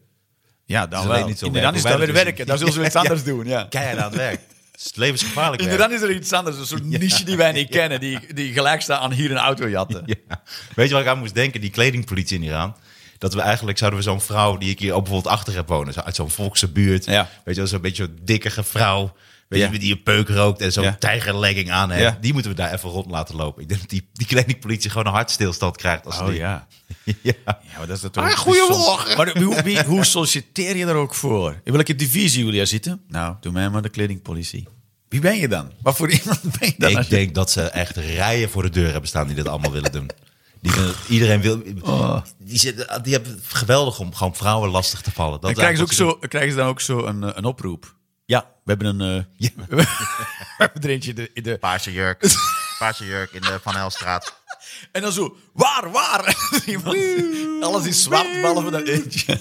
Speaker 2: Ja, dan
Speaker 3: Het
Speaker 2: wel.
Speaker 3: alleen niet zo
Speaker 2: in
Speaker 3: werken.
Speaker 2: Iran is dat
Speaker 3: Hoewel
Speaker 2: weer
Speaker 3: het is-
Speaker 2: werken. Daar zullen ze iets
Speaker 3: Ja.
Speaker 2: anders doen, ja.
Speaker 3: Keihard aan het werk. Het is levensgevaarlijk.
Speaker 2: In
Speaker 3: werk.
Speaker 2: Iran is er iets anders, een soort niche die wij niet kennen, die, die gelijk staat aan hier een auto jatten.
Speaker 3: Ja. Weet je wat ik aan moest denken? Die kledingpolitie in Iran. Dat we eigenlijk zouden we zo'n vrouw die ik hier ook bijvoorbeeld achter heb wonen. Zo uit zo'n volkse buurt.
Speaker 2: Ja.
Speaker 3: Weet je wel, zo'n beetje zo'n dikkige vrouw. Weet
Speaker 2: Ja.
Speaker 3: je, die een peuk rookt en zo'n
Speaker 2: Ja.
Speaker 3: tijgerlegging aan heeft.
Speaker 2: Ja.
Speaker 3: Die moeten we daar even rond laten lopen. Ik denk dat die, die kledingpolitie gewoon een hartstilstand krijgt. Als ze
Speaker 2: Oh
Speaker 3: die-
Speaker 2: ja.
Speaker 3: Ja.
Speaker 2: Ja, maar dat is natuurlijk.
Speaker 3: Ah, goeiemorgen.
Speaker 2: Maar hoe, wie, hoe solliciteer je daar ook voor? In welke divisie wil jij zitten? Nou, doe mij maar de kledingpolitie. Wie ben je dan? Wat voor iemand ben je dan? als
Speaker 3: Ik
Speaker 2: je-
Speaker 3: denk dat ze echt rijen voor de deur hebben staan die dit allemaal willen doen. Die, willen- iedereen wil.
Speaker 2: Oh.
Speaker 3: Die, zitten, die hebben het geweldig om gewoon vrouwen lastig te vallen. Dat
Speaker 2: Dan
Speaker 3: is
Speaker 2: krijgen ze, ook
Speaker 3: eigenlijk
Speaker 2: zo,
Speaker 3: wat
Speaker 2: krijgen ze dan ook zo een, eh, een oproep. Ja, we hebben een... eh, we hebben er eentje in de, in de...
Speaker 4: Paarse jurk. Paarse jurk in de Van Elstraat.
Speaker 2: En dan zo, waar, waar? Iemand- alles is zwart, behalve dat eentje.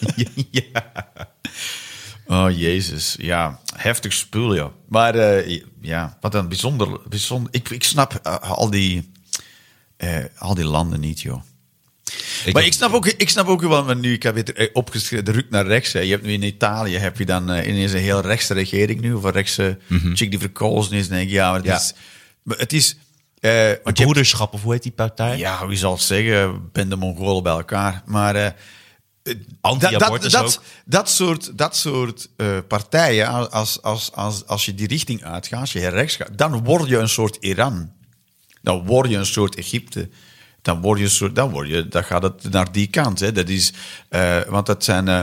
Speaker 2: Oh, jezus. Ja, heftig spul, joh. Maar eh, ja, wat een bijzonder... bijzonder ik, ik snap eh, al, die, eh, al die landen niet, joh. maar
Speaker 3: heb-
Speaker 2: ik snap ook, ik snap ook wel, maar nu ik heb weer eh, opgeschreven, de ruk naar rechts. Hè. Je hebt nu in Italië heb je dan eh, ineens een heel rechtse regering nu, of een rechtse chick die verkozen is. En denk ik, Mhm. ja, maar het
Speaker 3: Ja.
Speaker 2: is. Maar het is eh, want je hebt-
Speaker 3: Broederschap, of hoe heet die partij?
Speaker 2: ja, wie zal het zeggen? Ben de Mongolen bij elkaar. Maar eh,
Speaker 3: Anti-abortus
Speaker 2: dat,
Speaker 3: ook.
Speaker 2: dat soort, dat soort eh, partijen, als, als, als, als je die richting uitgaat, als je heel rechts gaat, dan word je een soort Iran. Dan word je een soort Egypte. Dan word je, een soort, dan word je dan gaat het naar die kant. Hè. Dat is, eh, want dat zijn, eh,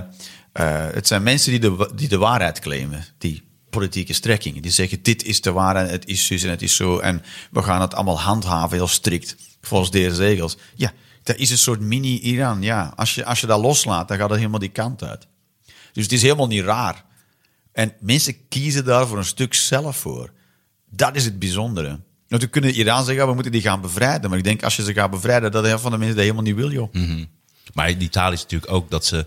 Speaker 2: eh, het zijn mensen die de, wa- die de waarheid claimen, die politieke strekkingen. Die zeggen, dit is de waarheid, het is zus en het is zo. En we gaan het allemaal handhaven, heel strikt, volgens deze regels. Ja, dat is een soort mini-Iran. Ja, als je, als je dat loslaat, dan gaat het helemaal die kant uit. Dus het is helemaal niet raar. En mensen kiezen daar voor een stuk zelf voor. Dat is het bijzondere. Want we kunnen Iran zeggen, ja, we moeten die gaan bevrijden. Maar ik denk, als je ze gaat bevrijden, dat de helft van de mensen dat helemaal niet wil, joh.
Speaker 3: Hm. Maar in Italië is natuurlijk ook dat ze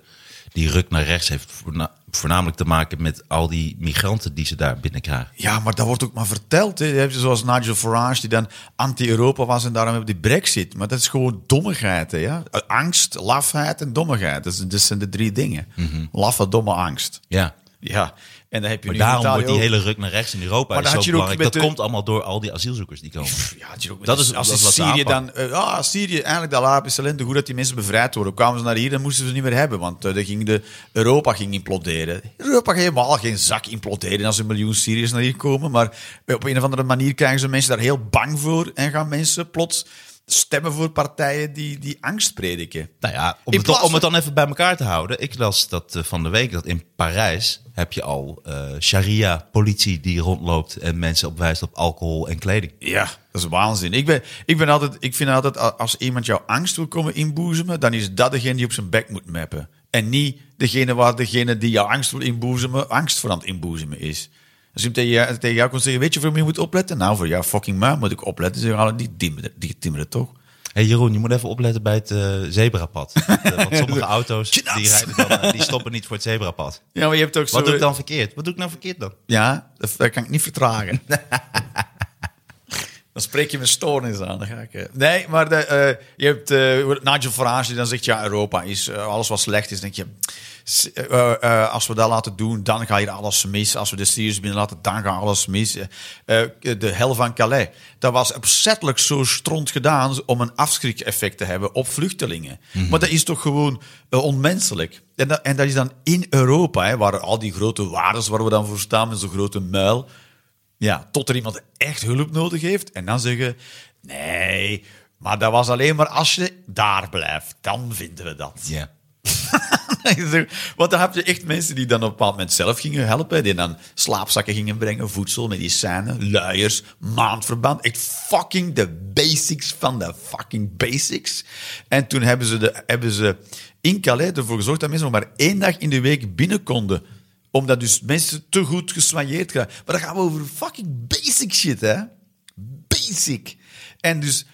Speaker 3: die ruk naar rechts heeft voorna- voornamelijk te maken met al die migranten die ze daar binnenkrijgen.
Speaker 2: Ja, maar dat wordt ook maar verteld. Hè. Je hebt zoals Nigel Farage, die dan anti-Europa was en daarom op die brexit. Maar dat is gewoon dommigheid. Hè, ja? Angst, lafheid en dommigheid. Dat, is- dat zijn de drie dingen. Laffe, domme angst.
Speaker 3: Ja.
Speaker 2: Ja, en dan heb je
Speaker 3: Mhm. Maar
Speaker 2: nu
Speaker 3: daarom
Speaker 2: Italië
Speaker 3: wordt die
Speaker 2: ook-
Speaker 3: hele ruk naar rechts in Europa
Speaker 2: Maar
Speaker 3: is
Speaker 2: dan had
Speaker 3: zo
Speaker 2: je ook
Speaker 3: belangrijk.
Speaker 2: met
Speaker 3: Dat
Speaker 2: de-
Speaker 3: komt allemaal door al die asielzoekers die komen.
Speaker 2: Ja, had je ook met-
Speaker 3: Dat is-
Speaker 2: als
Speaker 3: dat
Speaker 2: in
Speaker 3: is wat ze
Speaker 2: Syrië dan.
Speaker 3: aanpakken.
Speaker 2: eh, ja, Syrië, eigenlijk de Arabische lente, hoe dat die mensen bevrijd worden. Kwamen ze naar hier, dan moesten ze het niet meer hebben, want eh, dan ging de, Europa ging imploderen. Europa ging helemaal geen zak imploderen als er een miljoen Syriërs naar hier komen. Maar eh, op een of andere manier krijgen ze mensen daar heel bang voor en gaan mensen plots stemmen voor partijen die, die angst prediken.
Speaker 3: Nou ja, om
Speaker 2: In
Speaker 3: het, dan-
Speaker 2: plaats
Speaker 3: om het dan even bij elkaar te houden. Ik las dat eh, van de week dat in Parijs heb je al eh, sharia-politie die rondloopt en mensen op wijst op alcohol en kleding.
Speaker 2: Ja, dat is waanzin. Ik, ben, ik, ben altijd, ik vind altijd, a- als iemand jouw angst wil komen inboezemen, dan is dat degene die op zijn bek moet mappen. En niet degene waar degene die jouw angst wil inboezemen, angst voor aan het inboezemen is. Als iemand tegen jou, tegen jou komt zeggen, weet je voor wie je moet opletten? Nou, voor jou fucking maar moet ik opletten. Ze gaan die timmeren, die timmeren toch?
Speaker 3: Hey Jeroen, je moet even opletten bij het eh, zebrapad. Want, eh, want sommige auto's die,
Speaker 2: Tjenas.
Speaker 3: rijden dan, eh, die stoppen niet voor het zebrapad.
Speaker 2: Ja, maar je hebt ook zo...
Speaker 3: Wat doe ik dan verkeerd? Wat doe ik nou verkeerd dan?
Speaker 2: Ja, dat, dat kan ik niet vertragen. dan spreek je mijn stoornis aan. Dan ga ik, eh. Nee, maar de, eh, je hebt eh Nigel Farage die dan zegt... ja, Europa is eh, alles wat slecht is. denk je, s- eh, eh, als we dat laten doen, dan gaat hier alles mis. Als we de Syriërs binnen laten, dan gaat alles mis. Eh, eh, de hel van Calais. Dat was opzettelijk zo stront gedaan... om een afschrik-effect te hebben op vluchtelingen. Maar dat is toch gewoon eh, onmenselijk. En dat, en dat is dan in Europa, hè, waar al die grote waardes waar we dan voor staan... met zo'n grote muil... Ja, tot er iemand echt hulp nodig heeft. En dan zeggen, nee, maar dat was alleen maar als je daar blijft. Dan vinden we dat.
Speaker 3: Ja.
Speaker 2: Want dan heb je echt mensen die dan op een bepaald moment zelf gingen helpen. Die dan slaapzakken gingen brengen, voedsel, medicijnen, luiers, maandverband. Echt fucking de basics van de fucking basics. En toen hebben ze, de, hebben ze in Calais ervoor gezorgd dat mensen nog maar één dag in de week binnen konden. Omdat dus mensen te goed geswailleerd waren. Maar dan gaan we over fucking basic shit, hè. Basic. En dus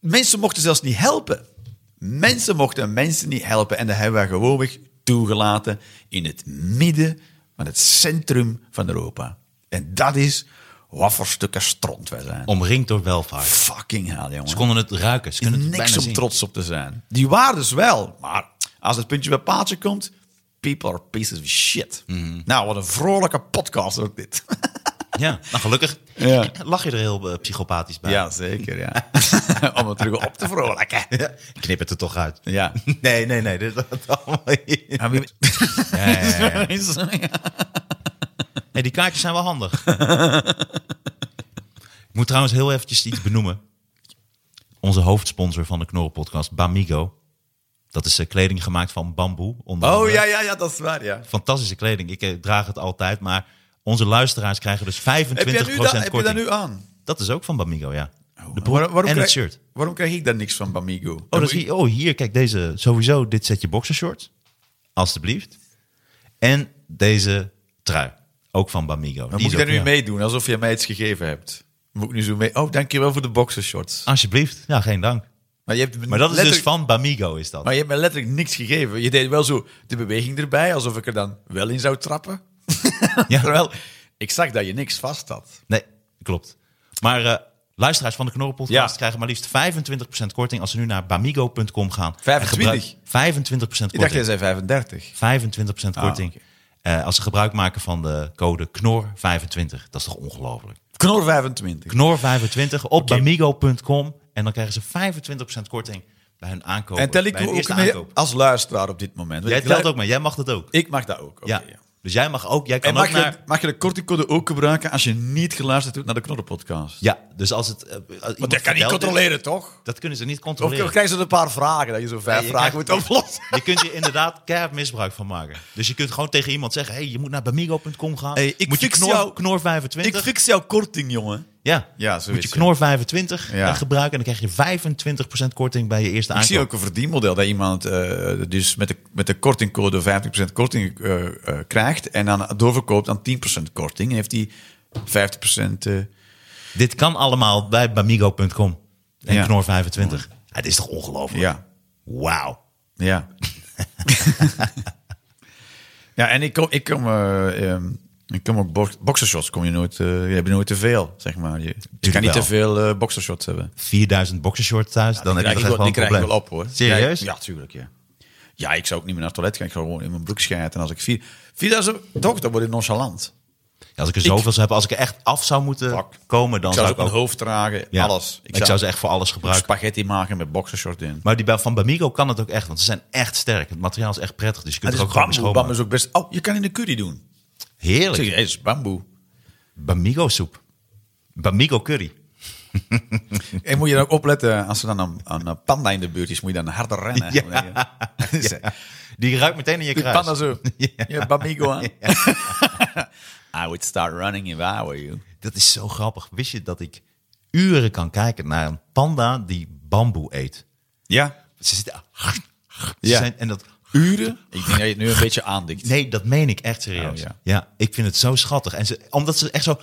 Speaker 2: mensen mochten zelfs niet helpen. Mensen mochten mensen niet helpen en dat hebben wij gewoonweg toegelaten in het midden van het centrum van Europa. En dat is wat voor stukken stront wij zijn.
Speaker 3: Omringd door welvaart.
Speaker 2: Fucking hell, jongen.
Speaker 3: Ze konden het ruiken. Ze kunnen het
Speaker 2: Niks
Speaker 3: bijna
Speaker 2: om
Speaker 3: zien.
Speaker 2: trots op te zijn. Die waren dus wel, maar als het puntje bij paaltje komt, people are pieces of shit.
Speaker 3: Mhm.
Speaker 2: Nou, wat een vrolijke podcast ook dit.
Speaker 3: Ja, nou gelukkig
Speaker 2: Ja.
Speaker 3: lach je er heel eh, psychopathisch bij.
Speaker 2: Ja, zeker, ja. om het terug op te vrolijken.
Speaker 3: Ik knip het er toch uit.
Speaker 2: Ja.
Speaker 3: Nee, nee, nee. Dit is allemaal hier.
Speaker 2: Ja, wie-
Speaker 3: Hey, die kaartjes zijn wel handig. Ik moet trouwens heel eventjes iets benoemen. Onze hoofdsponsor van de Knorrenpodcast, Bamigo. Dat is eh, kleding gemaakt van bamboe. onder
Speaker 2: Oh
Speaker 3: andere.
Speaker 2: ja, ja, ja, dat is waar, ja.
Speaker 3: Fantastische kleding. Ik eh, draag het altijd, maar onze luisteraars krijgen dus 25%
Speaker 2: Heb je, nu dat,
Speaker 3: korting.
Speaker 2: heb je dat nu aan?
Speaker 3: Dat is ook van Bamigo, ja. De broek
Speaker 2: Waarom- waarom
Speaker 3: en
Speaker 2: krijg,
Speaker 3: het shirt.
Speaker 2: Waarom krijg ik daar niks van Bamigo?
Speaker 3: Oh, dat is hier, oh, hier, kijk, deze. Sowieso dit setje boxershorts. Alsjeblieft. En deze trui. Ook van Bamigo. Die
Speaker 2: Dan moet
Speaker 3: is
Speaker 2: je daar
Speaker 3: ook-
Speaker 2: nu
Speaker 3: ja.
Speaker 2: meedoen, alsof je mij iets gegeven hebt. Moet ik nu zo mee... Oh, dankjewel voor de boxershorts.
Speaker 3: Alsjeblieft. Ja, geen dank.
Speaker 2: Maar, je hebt me
Speaker 3: Maar dat is dus
Speaker 2: letterlijk-
Speaker 3: van Bamigo, is dat.
Speaker 2: Maar je hebt me letterlijk niks gegeven. Je deed wel zo de beweging erbij, alsof ik er dan wel in zou trappen.
Speaker 3: Ja.
Speaker 2: Terwijl, ik zag dat je niks vast had.
Speaker 3: Nee, klopt. Maar eh, Luisteraars van de Knorrenpodcast
Speaker 2: Ja.
Speaker 3: krijgen maar liefst 25% korting als ze nu naar bamigo.com gaan.
Speaker 2: 25?
Speaker 3: En gebruik- 25% korting.
Speaker 2: Ik dacht, jij zei 35.
Speaker 3: 25%
Speaker 2: Ah,
Speaker 3: korting.
Speaker 2: oké.
Speaker 3: Eh, als ze gebruik maken van de code KNOR25. Dat is toch ongelooflijk?
Speaker 2: Knor 25.
Speaker 3: KNOR25 op bamigo.com. En dan krijgen ze 25% korting bij hun aankoop.
Speaker 2: En tel ik
Speaker 3: bij hun
Speaker 2: ook
Speaker 3: eerste
Speaker 2: mee
Speaker 3: aankoop.
Speaker 2: als luisteraar op dit moment. Want
Speaker 3: Jij
Speaker 2: ik
Speaker 3: telt
Speaker 2: lu-
Speaker 3: ook mee. Jij mag dat ook.
Speaker 2: Ik mag dat ook. Oké,
Speaker 3: ja.
Speaker 2: ja.
Speaker 3: Dus jij mag ook. Jij kan
Speaker 2: En mag,
Speaker 3: ook naar...
Speaker 2: je, mag je de kortingcode ook gebruiken als je niet geluisterd hebt naar de Knorrenpodcast?
Speaker 3: Ja, dus als het... eh, als
Speaker 2: Want dat
Speaker 3: iemand
Speaker 2: kan niet
Speaker 3: verteld is-
Speaker 2: controleren, toch?
Speaker 3: Dat kunnen ze niet
Speaker 2: Of
Speaker 3: controleren.
Speaker 2: krijgen ze een paar vragen, dat je zo vijf
Speaker 3: je
Speaker 2: vragen
Speaker 3: krijgt-
Speaker 2: moet oplossen.
Speaker 3: Je kunt hier inderdaad keihard misbruik van maken. Dus je kunt gewoon tegen iemand zeggen: hey, je moet naar bamigo.com gaan.
Speaker 2: Hey, ik
Speaker 3: moet je
Speaker 2: fix
Speaker 3: knor,
Speaker 2: jou-
Speaker 3: knor 25.
Speaker 2: Ik fix jouw korting, jongen.
Speaker 3: ja.
Speaker 2: Ja, zo
Speaker 3: moet
Speaker 2: is
Speaker 3: je
Speaker 2: het.
Speaker 3: knor 25
Speaker 2: Ja.
Speaker 3: eh, gebruiken en dan krijg je 25% korting bij je eerste
Speaker 2: Ik zie
Speaker 3: aankoop.
Speaker 2: ook een verdienmodel dat iemand eh, dus met de, met de kortingcode 50% korting eh, eh, krijgt en dan doorverkoopt aan 10% korting. En heeft hij 50%. eh,
Speaker 3: Dit kan allemaal bij bamigo.com en
Speaker 2: Ja.
Speaker 3: knor 25. Het is toch ongelooflijk?
Speaker 2: ja,
Speaker 3: Wauw.
Speaker 2: ja. ja, en ik kom, ik kom, eh, ehm, ik kom ook box, boxershots. Kom je nooit, eh, je hebt nooit te veel, zeg maar. Je, je kan niet
Speaker 3: wel.
Speaker 2: te veel eh, boxershots hebben.
Speaker 3: 4000 boxershorts thuis, dan
Speaker 2: Die
Speaker 3: heb je
Speaker 2: krijg
Speaker 3: toch
Speaker 2: ik
Speaker 3: echt
Speaker 2: wel, die
Speaker 3: wel een
Speaker 2: krijg ik
Speaker 3: probleem.
Speaker 2: wel op, hoor.
Speaker 3: Serieus?
Speaker 2: Ja, ja, tuurlijk, ja. Ja, ik zou ook niet meer naar het toilet gaan. Ik zou gewoon in mijn broek schijten. Als ik vier... Vierduizend, toch, dan word ik nonchalant.
Speaker 3: Ja, Als ik er zoveel zou hebben, als ik er echt af zou moeten
Speaker 2: Fuck.
Speaker 3: komen, dan
Speaker 2: Ik zou
Speaker 3: zou
Speaker 2: ze op
Speaker 3: ik
Speaker 2: mijn
Speaker 3: ook...
Speaker 2: hoofd dragen,
Speaker 3: ja.
Speaker 2: alles.
Speaker 3: Ik, zou ze echt voor alles gebruiken.
Speaker 2: spaghetti maken met boxershort in.
Speaker 3: Maar die bij- van Bamigo kan het ook echt, want ze zijn echt sterk. Het materiaal is echt prettig, dus je kunt
Speaker 2: Het
Speaker 3: er
Speaker 2: is
Speaker 3: ook gewoon mee
Speaker 2: bamboe. Bamboe
Speaker 3: schoonmaken.
Speaker 2: is ook best... Oh, je kan in de curry doen. Ik zeg,
Speaker 3: Heerlijk.
Speaker 2: hey, het is bamboe.
Speaker 3: Bamigo soep. Bamigo curry.
Speaker 2: En moet je dan ook opletten, als er dan een, een, eh, panda in de buurt is, moet je dan harder rennen. Ja.
Speaker 3: Die ruikt meteen in je
Speaker 2: Die
Speaker 3: kruis.
Speaker 2: panda zo. Je bamigo aan. I would start running if I were you.
Speaker 3: Dat is zo grappig. Wist je dat ik uren kan kijken naar een panda die bamboe eet?
Speaker 2: Ja.
Speaker 3: Ze zitten... Ze
Speaker 2: Ja.
Speaker 3: zijn, en dat...
Speaker 2: Uren? Ik denk dat je het nu een beetje aandikt.
Speaker 3: Nee, dat meen ik echt serieus.
Speaker 2: Oh,
Speaker 3: ja.
Speaker 2: ja.
Speaker 3: ik vind het zo schattig. En ze, omdat ze echt zo...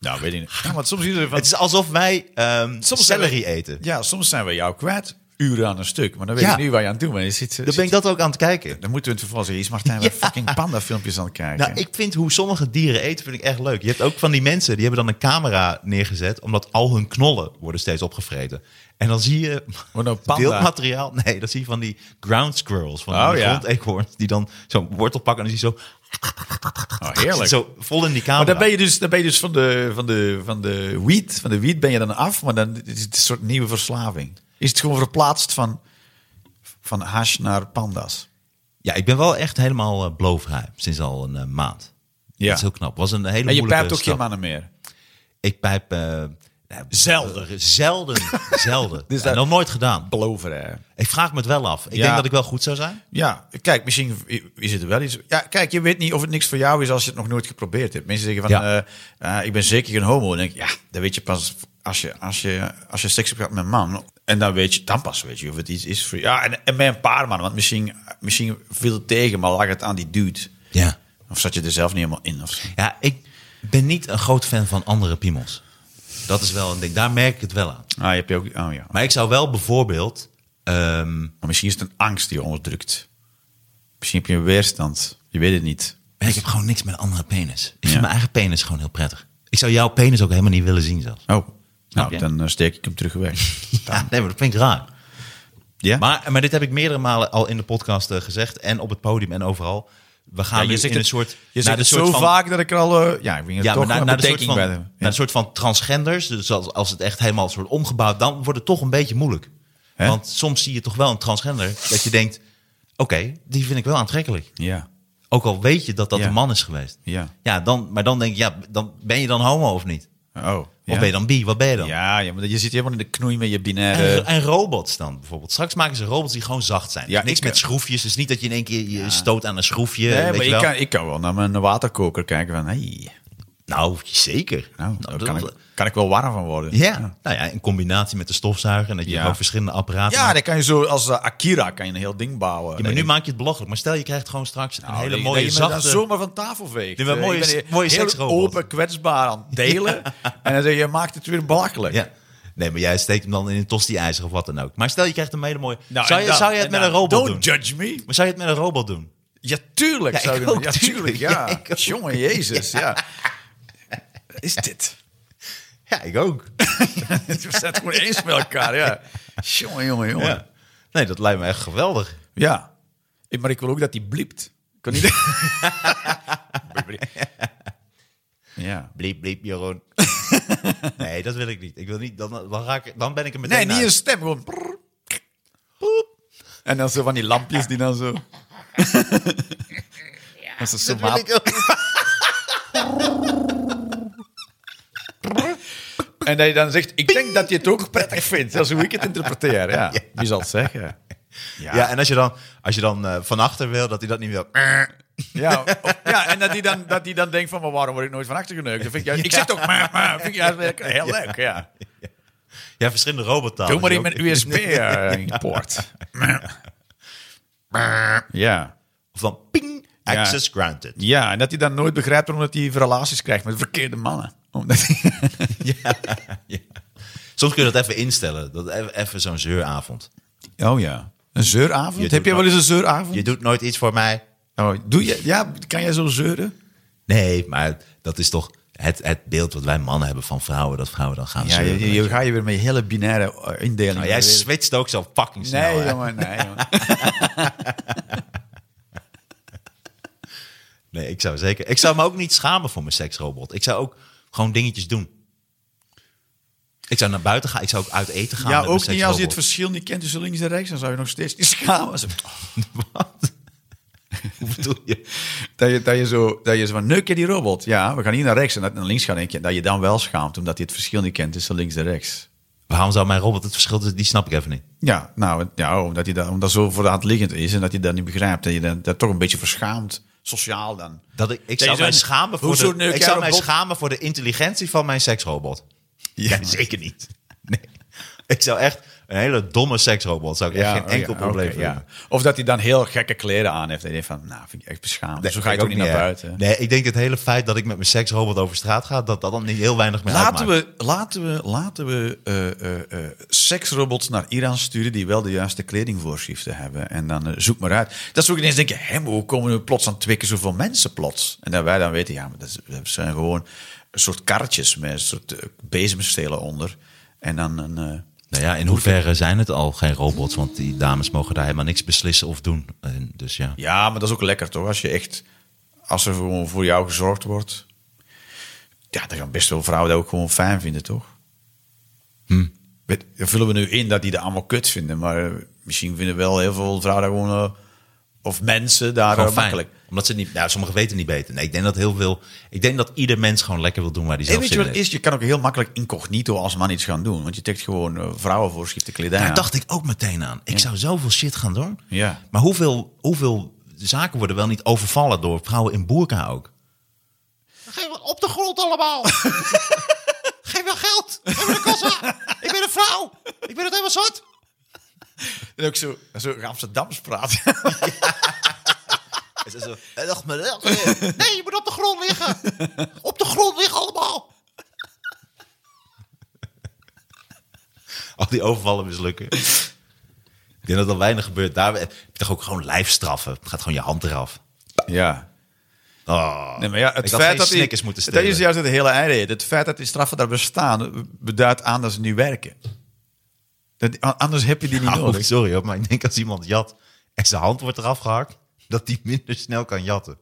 Speaker 2: Nou, weet ik niet. Ja, want soms, is er van,
Speaker 3: Het is alsof wij ehm
Speaker 2: soms zijn we-
Speaker 3: celery eten.
Speaker 2: Ja, soms zijn we jou kwijt. Uren aan een stuk. Maar dan weet
Speaker 3: Ja.
Speaker 2: je nu waar je aan toe bent. Je zit,
Speaker 3: Dan ben ik dat ook aan het kijken.
Speaker 2: Dan moeten we het vervolgens zeggen. Is Martijn weer fucking panda-filmpjes aan het kijken?
Speaker 3: Nou, ik vind hoe sommige dieren eten, vind ik echt leuk. Je hebt ook van die mensen, die hebben dan een camera neergezet... omdat al hun knollen worden steeds opgevreten. En dan zie je
Speaker 2: Wordt een panda.
Speaker 3: beeldmateriaal... Nee, dan zie je van die ground squirrels, van
Speaker 2: Oh,
Speaker 3: die
Speaker 2: ja.
Speaker 3: grondeekhoorns... die dan zo'n wortel pakken en die zo,
Speaker 2: Oh, heerlijk.
Speaker 3: zo vol in die
Speaker 2: maar
Speaker 3: camera.
Speaker 2: dan ben je dus, dan ben je dus van, de, van, de, van de wiet, van de wiet ben je dan af, maar dan is het een soort nieuwe verslaving. Is het gewoon verplaatst van, van hash naar panda's?
Speaker 3: Ja, ik ben wel echt helemaal eh blowvrij sinds al een eh, maand.
Speaker 2: Ja.
Speaker 3: Dat is heel knap. was een hele
Speaker 2: En je
Speaker 3: moeilijke
Speaker 2: pijpt ook
Speaker 3: stap.
Speaker 2: geen mannen meer.
Speaker 3: Ik pijp... eh, nou,
Speaker 2: Zelden.
Speaker 3: Zelden. Zelden.
Speaker 2: Dus
Speaker 3: en
Speaker 2: dat-
Speaker 3: nog nooit gedaan.
Speaker 2: Beloven, hè.
Speaker 3: Ik vraag me het wel af. Ik
Speaker 2: Ja.
Speaker 3: denk dat ik wel goed zou zijn.
Speaker 2: Ja, kijk, misschien is het wel iets. Ja, kijk, je weet niet of het niks voor jou is als je het nog nooit geprobeerd hebt. Mensen zeggen van,
Speaker 3: Ja.
Speaker 2: eh, eh, ik ben zeker geen homo. Dan denk ik, ja, dat weet je pas als je, als je, als je seks hebt gehad met een man. En dan weet je, dan pas weet je of het iets is voor jou. Ja, en, en bij een paar mannen, want misschien, misschien viel het tegen, maar lag het aan die dude.
Speaker 3: Ja.
Speaker 2: Of zat je er zelf niet helemaal in? Of zo.
Speaker 3: Ja, ik ben niet een groot fan van andere piemels. Dat is wel een ding. Daar merk ik het wel aan.
Speaker 2: Ah, je hebt je ook, oh ja.
Speaker 3: Maar ik zou wel bijvoorbeeld... ehm,
Speaker 2: Maar misschien is het een angst die je onderdrukt. Misschien heb je een weerstand. Je weet het niet.
Speaker 3: ik heb gewoon niks met een andere penis. Ik vind
Speaker 2: Ja.
Speaker 3: mijn eigen penis gewoon heel prettig. Ik zou jouw penis ook helemaal niet willen zien zelfs.
Speaker 2: Oh, nou,
Speaker 3: je?
Speaker 2: dan eh, steek ik hem terug weg.
Speaker 3: Ja, nee, maar dat vind ik raar.
Speaker 2: Ja?
Speaker 3: Maar, maar dit heb ik meerdere malen al in de podcast eh, gezegd. En op het podium en overal. We gaan
Speaker 2: Ja,
Speaker 3: nu
Speaker 2: je zegt het,
Speaker 3: in een soort...
Speaker 2: je
Speaker 3: naar
Speaker 2: zegt
Speaker 3: de
Speaker 2: het
Speaker 3: soort
Speaker 2: zo
Speaker 3: van-
Speaker 2: vaak dat ik er al... eh, ja, ik vind het
Speaker 3: Ja,
Speaker 2: toch
Speaker 3: maar naar,
Speaker 2: een
Speaker 3: naar, de soort
Speaker 2: betekening
Speaker 3: van,
Speaker 2: bij de-
Speaker 3: naar een soort van transgenders. Dus als, als het echt helemaal soort omgebouwd, dan wordt het toch een beetje moeilijk.
Speaker 2: Hè?
Speaker 3: Want soms zie je toch wel een transgender dat je denkt... Oké, die vind ik wel aantrekkelijk.
Speaker 2: Ja.
Speaker 3: Ook al weet je dat dat
Speaker 2: Ja.
Speaker 3: een man is geweest.
Speaker 2: Ja.
Speaker 3: ja dan, maar dan denk je, ja, dan ben je dan homo of niet?
Speaker 2: Oh.
Speaker 3: Of ben je dan bi? Wat ben je dan?
Speaker 2: Ja, ja, maar je zit helemaal in de knoei met je
Speaker 3: En,
Speaker 2: binaire...
Speaker 3: en robots dan bijvoorbeeld. Straks maken ze robots die gewoon zacht zijn.
Speaker 2: Ja,
Speaker 3: Niks
Speaker 2: ik-
Speaker 3: met schroefjes. Dus niet dat je in één keer je stoot aan een schroefje.
Speaker 2: Nee,
Speaker 3: weet
Speaker 2: maar
Speaker 3: je
Speaker 2: ik
Speaker 3: wel.
Speaker 2: kan, ik kan wel naar mijn waterkoker kijken van... Hey,
Speaker 3: Nou, zeker.
Speaker 2: nou,
Speaker 3: Nou,
Speaker 2: daar
Speaker 3: dat-
Speaker 2: kan, ik, kan ik wel warm van worden.
Speaker 3: Ja. nou ja, in combinatie met de stofzuiger en dat je
Speaker 2: Ja.
Speaker 3: gewoon verschillende apparaten.
Speaker 2: Ja,
Speaker 3: maakt.
Speaker 2: dan kan je zo als eh, Akira kan je een heel ding bouwen.
Speaker 3: Ja, maar nu maak je het belachelijk. Maar stel je krijgt gewoon straks een hele mooie
Speaker 2: Nou, dat je me dan
Speaker 3: zachte.
Speaker 2: zomaar van tafel veegt.
Speaker 3: Nee, maar
Speaker 2: Eh,
Speaker 3: mooie-
Speaker 2: je bent
Speaker 3: mooie
Speaker 2: heel
Speaker 3: seksrobot.
Speaker 2: open, kwetsbaar aan het delen. En dan zeg je, je maakt het weer belachelijk.
Speaker 3: Ja. Nee, maar jij steekt hem dan in een tosti-ijzer of wat dan ook. Maar stel je krijgt een hele mooie.
Speaker 2: Nou,
Speaker 3: zou,
Speaker 2: en
Speaker 3: je,
Speaker 2: dan-
Speaker 3: zou je het
Speaker 2: en
Speaker 3: met
Speaker 2: dan,
Speaker 3: een robot
Speaker 2: Don't
Speaker 3: doen?
Speaker 2: judge me.
Speaker 3: Maar zou je het met een robot doen?
Speaker 2: Ja, tuurlijk.
Speaker 3: Ja,
Speaker 2: zou
Speaker 3: ik
Speaker 2: je dat-
Speaker 3: ook,
Speaker 2: ja, tuurlijk.
Speaker 3: tuurlijk.
Speaker 2: Ja,
Speaker 3: Ja, ik ook.
Speaker 2: jongen, Jezus. Ja. Is dit?
Speaker 3: Ja, ik ook.
Speaker 2: We zijn het gewoon eens met elkaar, ja. Jongen, jongen, jongen.
Speaker 3: Ja.
Speaker 2: Ja.
Speaker 3: Nee, dat lijkt me echt geweldig.
Speaker 2: Eh, Maar ik wil ook dat die bliept. Kan niet... ja.
Speaker 3: Bliep, bliep, Jeroen. nee, dat wil ik niet. Ik wil niet. Dan, dan, raak ik, dan ben ik er meteen
Speaker 2: Nee, niet
Speaker 3: uit.
Speaker 2: een stem, gewoon... prrr, poep. En dan zo van die lampjes die dan zo... Als een
Speaker 3: Dat
Speaker 2: somaat.
Speaker 3: wil ik ook.
Speaker 2: En dat je dan zegt, ik denk dat je het ook prettig vindt. Dat is hoe ik het interpreteer, ja. Wie zal het zeggen?
Speaker 3: Ja. en als je dan, als je dan eh, van achter wil, dat hij dat niet wil.
Speaker 2: Ja, of- ja en dat die, dan, dat die dan denkt van, maar waarom word ik nooit van achter geneukt? Dat vind ik, juist- ik zeg toch, maar, maar, dat vind ik juist wel heel leuk, ja.
Speaker 3: Ja, verschillende robottalen.
Speaker 2: Doe maar
Speaker 3: die
Speaker 2: in
Speaker 3: ook-
Speaker 2: mijn eh, USB-poort. Ja.
Speaker 3: Of dan ping,
Speaker 2: Ja.
Speaker 3: access granted.
Speaker 2: ja, en dat hij dan nooit begrijpt waarom dat hij relaties krijgt met verkeerde mannen. Omdat hij-
Speaker 3: Soms kun je dat even instellen. Dat even, even zo'n zeuravond.
Speaker 2: Oh ja, een
Speaker 3: Je
Speaker 2: zeuravond? Heb
Speaker 3: doet
Speaker 2: jij wel
Speaker 3: nog-
Speaker 2: eens een zeuravond?
Speaker 3: Je doet nooit iets voor mij.
Speaker 2: Oh, doe je, ja, kan jij zo zeuren?
Speaker 3: Nee, maar dat is toch het, het beeld wat wij mannen hebben van vrouwen. Dat vrouwen dan gaan
Speaker 2: Ja,
Speaker 3: zeuren.
Speaker 2: je, je, ga je weer met je hele binaire eh, indeling.
Speaker 3: Nou, jij switcht ook zo fucking snel.
Speaker 2: nee,
Speaker 3: hè?
Speaker 2: jongen, nee, jongen.
Speaker 3: Nee, ik zou zeker. Ik zou me ook niet schamen voor mijn seksrobot. Ik zou ook gewoon dingetjes doen. Ik zou naar buiten gaan. Ik zou ook uit eten gaan.
Speaker 2: Ja,
Speaker 3: met mijn
Speaker 2: ook niet als je het
Speaker 3: seksrobot.
Speaker 2: verschil niet kent tussen links en rechts. Dan zou je nog steeds niet schamen. Zo,
Speaker 3: Wat? Hoe bedoel je?
Speaker 2: Dat je, dat je zo, dat je zo van, neuk je die robot? Ja, we gaan hier naar rechts en dat- naar links gaan. Denk je, dat je dan wel schaamt, omdat je het verschil niet kent tussen links en rechts.
Speaker 3: Waarom zou mijn robot het verschil tussen- Die snap ik even niet.
Speaker 2: Ja, nou, ja, omdat, hij dat, omdat zo voor de hand liggend is en dat je dat niet begrijpt. Dat je dan, dat toch een beetje verschaamt, sociaal dan.
Speaker 3: Dat ik, ik
Speaker 2: je
Speaker 3: zou
Speaker 2: zo'n-
Speaker 3: mij schamen voor
Speaker 2: hoezo
Speaker 3: de,
Speaker 2: neuk
Speaker 3: ik
Speaker 2: jij
Speaker 3: zou mij
Speaker 2: robot?
Speaker 3: schamen voor de intelligentie van mijn seksrobot.
Speaker 2: Ja.
Speaker 3: Nee, zeker niet. Nee. Ik zou echt een hele domme seksrobot. Zou ik echt geen
Speaker 2: oh
Speaker 3: enkel
Speaker 2: oké,
Speaker 3: probleem
Speaker 2: ja.
Speaker 3: hebben.
Speaker 2: Of dat hij dan heel gekke kleren aan heeft. En je denkt van, nou, vind ik echt beschaamd.
Speaker 3: Nee,
Speaker 2: zo ga je
Speaker 3: ik
Speaker 2: toch
Speaker 3: ook
Speaker 2: niet naar
Speaker 3: hè.
Speaker 2: buiten.
Speaker 3: Nee, ik denk het hele feit dat ik met mijn seksrobot over straat ga, dat dat dan niet heel weinig meer
Speaker 2: Laten
Speaker 3: uitmaakt.
Speaker 2: we, laten we, laten we eh, eh, eh, seksrobots naar Iran sturen die wel de juiste kledingvoorschriften hebben. En dan eh, zoek maar uit. Dat ze ook ineens denken, hè, maar hoe komen we plots aan twee keer zoveel mensen plots? En dat wij dan weten, ja, maar dat is- dat zijn gewoon een soort karretjes met een soort eh, bezemstelen onder. En dan een... eh,
Speaker 3: Nou ja, in hoeverre zijn het al geen robots? Want die dames mogen daar helemaal niks beslissen of doen. En dus ja.
Speaker 2: ja, maar dat is ook lekker toch? Als je echt... Als er gewoon voor jou gezorgd wordt... Ja, dan gaan best wel vrouwen dat ook gewoon fijn vinden, toch?
Speaker 3: Hm.
Speaker 2: Weet, dan vullen we nu in dat die dat allemaal kut vinden. Maar eh, misschien vinden wel heel veel vrouwen daar gewoon... eh, of mensen daar
Speaker 3: Gewoon
Speaker 2: eh,
Speaker 3: fijn.
Speaker 2: makkelijk.
Speaker 3: Omdat ze niet, nou, sommigen weten niet beter. Nee, ik denk dat heel veel, ik denk dat ieder mens gewoon lekker wil doen waar hij
Speaker 2: En
Speaker 3: zelf
Speaker 2: weet
Speaker 3: zin
Speaker 2: je
Speaker 3: in
Speaker 2: wat
Speaker 3: heeft.
Speaker 2: het is? Je kan ook heel makkelijk incognito als man iets gaan doen. Want je trekt gewoon eh, vrouwenvoorschriften kledij
Speaker 3: Daar
Speaker 2: aan.
Speaker 3: dacht ik ook meteen aan. Ik zou zoveel shit gaan doen.
Speaker 2: Ja.
Speaker 3: Maar hoeveel, hoeveel zaken worden wel niet overvallen door vrouwen in boerka ook?
Speaker 4: Geef wat op de grond allemaal. Geef wel geld. Geef me de kassa. Ik ben een vrouw. Ik ben het helemaal zwart.
Speaker 2: En ook zo, zo Amsterdams praten.
Speaker 3: Het is zo, eh, dag, maar, dag, eh.
Speaker 4: Nee, je moet op de grond liggen. Op de grond liggen allemaal.
Speaker 3: Al die overvallen mislukken. Ik denk dat er weinig gebeurt. Daar heb je toch ook gewoon lijfstraffen. Het gaat gewoon je hand eraf.
Speaker 2: ja.
Speaker 3: Oh.
Speaker 2: Nee, maar ja, het
Speaker 3: Ik had
Speaker 2: feit
Speaker 3: geen
Speaker 2: dat die,
Speaker 3: Snickers moeten
Speaker 2: dat is
Speaker 3: stelen.
Speaker 2: juist het hele eieren. Het feit dat die straffen daar bestaan beduidt aan dat ze nu werken. Dat, anders heb je die niet
Speaker 3: Oh,
Speaker 2: nodig.
Speaker 3: sorry hoor, maar ik denk als iemand jat en zijn hand wordt eraf gehakt, dat die minder snel kan jatten.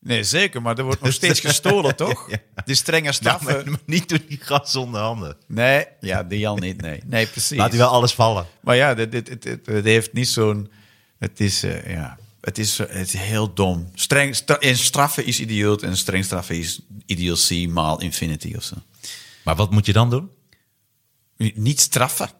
Speaker 2: Nee, zeker, maar er wordt nog steeds gestolen, toch? Die strenge
Speaker 3: Nou,
Speaker 2: straffen.
Speaker 3: maar, maar niet door die gast zonder handen.
Speaker 2: Nee, ja, die al niet, nee. Nee, precies.
Speaker 3: Laat hij wel alles vallen.
Speaker 2: Maar ja, dit, dit, dit, dit- het heeft niet zo'n... Het is, eh, ja, het is, eh, het is heel dom. Streng, stra- en straffen is idioot en streng straffen is idiotie maal infinity of zo.
Speaker 3: Maar wat moet je dan doen?
Speaker 2: Niet straffen.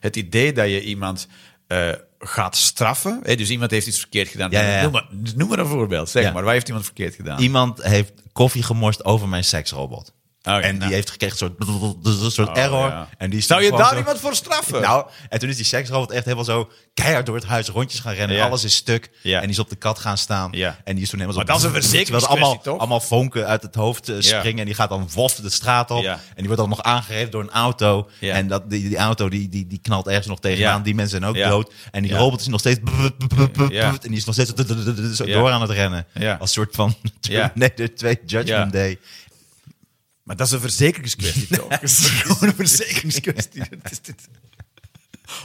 Speaker 2: Het idee dat je iemand eh, gaat straffen... Hè, dus iemand heeft iets verkeerd gedaan.
Speaker 3: Ja, ja, ja.
Speaker 2: Noem, maar, noem maar een voorbeeld, zeg
Speaker 3: Ja.
Speaker 2: maar. Waar heeft iemand verkeerd gedaan?
Speaker 3: Iemand heeft koffie gemorst over mijn seksrobot.
Speaker 2: ja,
Speaker 3: en die
Speaker 2: nou. Oh,
Speaker 3: heeft gekregen een soort, een soort error.
Speaker 2: ja.
Speaker 3: En die is
Speaker 2: Zou je
Speaker 3: gewoon
Speaker 2: daar
Speaker 3: zo-
Speaker 2: iemand voor straffen?
Speaker 3: Nou, en toen is die seksrobot echt helemaal zo keihard door het huis rondjes gaan rennen.
Speaker 2: Ja.
Speaker 3: Alles is stuk.
Speaker 2: Ja.
Speaker 3: En die is op de kat gaan staan.
Speaker 2: Ja.
Speaker 3: En die is toen helemaal zo...
Speaker 2: Maar dat is een
Speaker 3: Terwijl er
Speaker 2: verzekeringskwestie,
Speaker 3: allemaal,
Speaker 2: toch?
Speaker 3: allemaal vonken uit het hoofd eh, springen. En die gaat dan wof de straat op.
Speaker 2: Ja.
Speaker 3: En die wordt dan nog aangereden door een auto.
Speaker 2: Ja.
Speaker 3: En dat, die, die auto die, die, die knalt ergens nog tegenaan.
Speaker 2: Ja.
Speaker 3: Die mensen zijn ook
Speaker 2: Ja.
Speaker 3: dood. En die
Speaker 2: Ja.
Speaker 3: robot is nog steeds...
Speaker 2: Ja.
Speaker 3: En die is nog steeds zo- zo
Speaker 2: Ja.
Speaker 3: door aan het rennen.
Speaker 2: Ja.
Speaker 3: Als soort van
Speaker 2: Ja.
Speaker 3: Terminator 2 Judgment
Speaker 2: Ja.
Speaker 3: Day.
Speaker 2: Maar dat is een verzekeringskwestie, toch? Dat is gewoon een verzekeringskwestie. Het is dit-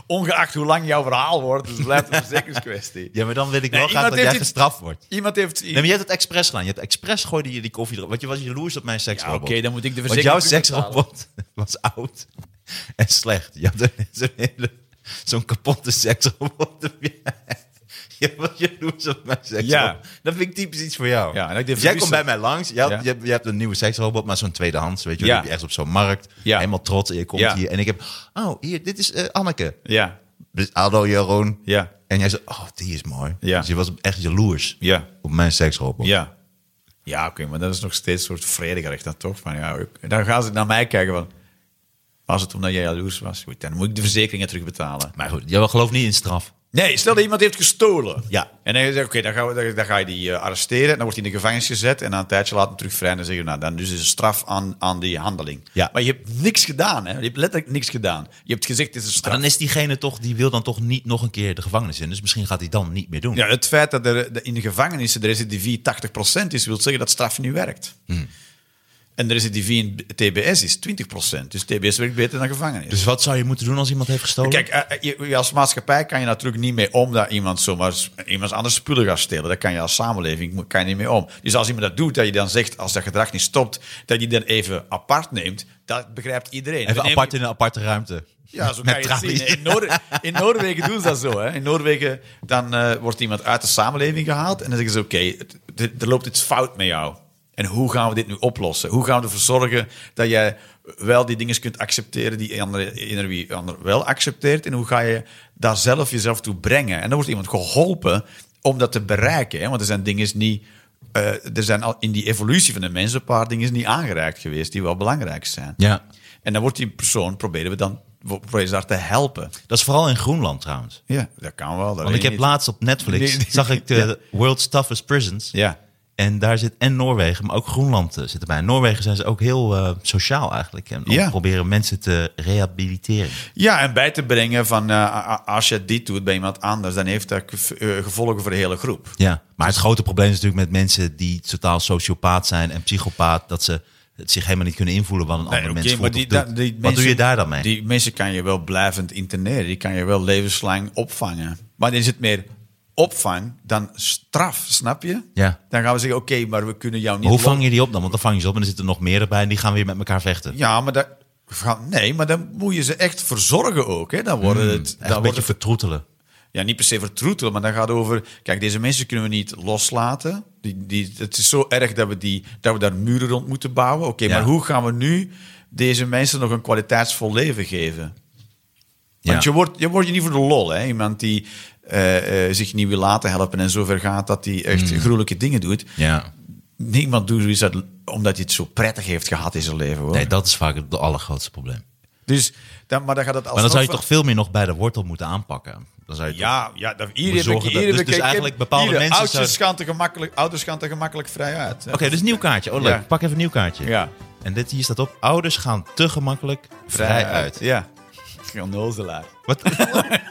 Speaker 2: Ongeacht hoe lang jouw verhaal wordt, dus het blijft een verzekeringskwestie.
Speaker 3: Ja, maar dan wil ik wel
Speaker 2: Nee,
Speaker 3: graag
Speaker 2: iemand
Speaker 3: dat jij
Speaker 2: heeft iets-
Speaker 3: gestraft wordt.
Speaker 2: Iemand heeft...
Speaker 3: Nee, maar je hebt het expres gedaan. Je hebt expres gooide je die koffie erop. Want je was jaloers op mijn seksrobot.
Speaker 2: oké, dan moet ik de
Speaker 3: Want
Speaker 2: verzekering
Speaker 3: jouw
Speaker 2: terugbetalen.
Speaker 3: seksrobot was oud en slecht. Je had een- zo'n hele... Zo'n kapotte seksrobot. op Je Je was jaloers op mijn seksrobot.
Speaker 2: Ja.
Speaker 3: Dat vind ik typisch iets voor jou.
Speaker 2: Ja, en ik denk,
Speaker 3: Dus jij
Speaker 2: verlies-
Speaker 3: komt bij mij langs. Je, had-
Speaker 2: Ja.
Speaker 3: je, hebt- je hebt een nieuwe seksrobot, maar zo'n tweedehands. Weet je, wel.
Speaker 2: Ja.
Speaker 3: Die heb je echt op zo'n markt.
Speaker 2: Ja.
Speaker 3: Helemaal trots. En je komt
Speaker 2: Ja.
Speaker 3: hier. En ik heb... Oh, hier, dit is eh, Anneke.
Speaker 2: Ja,
Speaker 3: Dus hallo Jeroen.
Speaker 2: ja,
Speaker 3: En jij zei, oh, die is mooi.
Speaker 2: Ja.
Speaker 3: Dus je was echt jaloers
Speaker 2: ja,
Speaker 3: op mijn seksrobot.
Speaker 2: ja. Ja, oké, maar dat is nog steeds een soort vredigerecht dan toch? Van, ja, ik- dan gaan ze naar mij kijken van... Was het omdat jij jaloers was? Goed, dan moet ik de verzekeringen terugbetalen.
Speaker 3: Maar goed, jij gelooft niet in straf.
Speaker 2: Nee, stel dat iemand heeft gestolen.
Speaker 3: Ja.
Speaker 2: En dan zeg je, oké, dan, gaan we- dan, dan ga je die eh, arresteren. Dan wordt hij in de gevangenis gezet. En na een tijdje laat hem terug vrij. En dan zeg je, nou, dan dus is een straf aan, aan die handeling.
Speaker 3: Ja.
Speaker 2: Maar je hebt niks gedaan, hè. Je hebt letterlijk niks gedaan. Je hebt gezegd, dit is een
Speaker 3: Maar
Speaker 2: straf.
Speaker 3: dan is diegene toch, die wil dan toch niet nog een keer de gevangenis in. Dus misschien gaat hij dan niet meer doen.
Speaker 2: Ja, het feit dat er de- in de gevangenissen de recidivie 80% is, wil zeggen dat straf niet werkt.
Speaker 3: Hmm.
Speaker 2: En de recidivie in b- TBS is 20%. Dus TBS werkt beter dan gevangenis.
Speaker 3: Dus wat zou je moeten doen als iemand heeft gestolen?
Speaker 2: Kijk, eh, je- je als maatschappij kan je natuurlijk niet mee om dat iemand zomaar s- iemand anders spullen gaat stelen. Daar kan je als samenleving mo- kan je niet mee om. Dus als iemand dat doet, dat je dan zegt, als dat gedrag niet stopt, dat je die dan even apart neemt, dat begrijpt iedereen. We
Speaker 3: Even
Speaker 2: nemen-
Speaker 3: apart in een aparte ruimte.
Speaker 2: ja, zo
Speaker 3: Met
Speaker 2: kan je het
Speaker 3: tralies.
Speaker 2: zien. In, Noor- in Noorwegen doen ze dat zo. Hè. In Noorwegen dan, eh, wordt iemand uit de samenleving gehaald en dan zeggen ze: Oké, het- het- er loopt iets fout met jou. En hoe gaan we dit nu oplossen? Hoe gaan we ervoor zorgen dat jij wel die dingen kunt accepteren die anderen ieder wie ander wel accepteert? En hoe ga je daar zelf jezelf toe brengen? En dan wordt iemand geholpen om dat te bereiken. Hè? Want er zijn dingen niet. eh, er zijn al in die evolutie van de mens een paar dingen niet aangereikt geweest die wel belangrijk zijn.
Speaker 3: Ja.
Speaker 2: En dan wordt die persoon, proberen we dan we proberen ze daar te helpen.
Speaker 3: Dat is vooral in Groenland trouwens.
Speaker 2: Ja, dat kan wel. dat
Speaker 3: Want
Speaker 2: weet
Speaker 3: ik heb
Speaker 2: niet.
Speaker 3: laatst op Netflix,
Speaker 2: Nee, nee.
Speaker 3: zag ik de World's Toughest Prisons.
Speaker 2: Ja.
Speaker 3: En daar zit en Noorwegen, maar ook Groenland eh, zit erbij. In Noorwegen zijn ze ook heel eh, sociaal eigenlijk. En om
Speaker 2: Ja.
Speaker 3: proberen mensen te rehabiliteren.
Speaker 2: ja, en bij te brengen van eh, a- a- als je dit doet bij iemand anders, dan heeft dat gev- eh, gevolgen voor de hele groep.
Speaker 3: Ja, maar het grote probleem is natuurlijk met mensen die totaal sociopaat zijn en psychopaat, dat ze het zich helemaal niet kunnen invoelen wat een ander
Speaker 2: Nee,
Speaker 3: mens
Speaker 2: oké,
Speaker 3: voelt of doet.
Speaker 2: da- die
Speaker 3: Wat
Speaker 2: mensen-
Speaker 3: doe je daar dan mee?
Speaker 2: Die mensen kan je wel blijvend interneren. Die kan je wel levenslang opvangen. Maar dan is het meer opvang dan straf, snap je?
Speaker 3: Ja.
Speaker 2: Dan gaan we zeggen, oké, maar we kunnen jou niet...
Speaker 3: Maar hoe
Speaker 2: lo-
Speaker 3: vang je die op dan? Want dan vang je ze op en er zitten nog meer erbij en die gaan weer met elkaar vechten.
Speaker 2: Ja, maar dat... Nee, maar dan moet je ze echt verzorgen ook. Hè? Dan worden het, dan
Speaker 3: Hmm, Echt een
Speaker 2: wordt
Speaker 3: beetje
Speaker 2: het
Speaker 3: vertroetelen.
Speaker 2: ja, niet per se vertroetelen, maar dan gaat het over... Kijk, deze mensen kunnen we niet loslaten. Die, die, het is zo erg dat we, die, dat we daar muren rond moeten bouwen. Oké,
Speaker 3: Ja.
Speaker 2: maar hoe gaan we nu deze mensen nog een kwaliteitsvol leven geven?
Speaker 3: Ja.
Speaker 2: Want je wordt, je wordt je niet voor de lol. Hè? Iemand die eh, eh, zich niet wil laten helpen en zover gaat dat hij echt
Speaker 3: Hmm.
Speaker 2: gruwelijke dingen doet.
Speaker 3: Ja.
Speaker 2: Niemand doet zoiets uit- omdat hij het zo prettig heeft gehad in zijn leven. Hoor.
Speaker 3: Nee, dat is vaak het allergrootste probleem.
Speaker 2: dus, dan, maar dan gaat het
Speaker 3: Maar dan zou je
Speaker 2: alsnog-
Speaker 3: toch veel meer nog bij de wortel moeten aanpakken. Dan zou je toch-
Speaker 2: Ja, ja dat, hier
Speaker 3: Moet
Speaker 2: heb ik,
Speaker 3: zorgen
Speaker 2: hier
Speaker 3: dat-
Speaker 2: heb
Speaker 3: dus-
Speaker 2: ik-
Speaker 3: dus
Speaker 2: ik heb-
Speaker 3: eigenlijk bepaalde
Speaker 2: hier, de
Speaker 3: mensen
Speaker 2: Ouders
Speaker 3: zouden-
Speaker 2: gaan er gemakkelijk, ouders gaan er gemakkelijk vrij uit.
Speaker 3: Oké, dus nieuw kaartje. Oh, leuk.
Speaker 2: Ja.
Speaker 3: Pak even een nieuw kaartje.
Speaker 2: Ja.
Speaker 3: En dit hier staat op. Ouders gaan te gemakkelijk vrij, uit.
Speaker 2: Ja. Onnozelaar.
Speaker 3: Wat,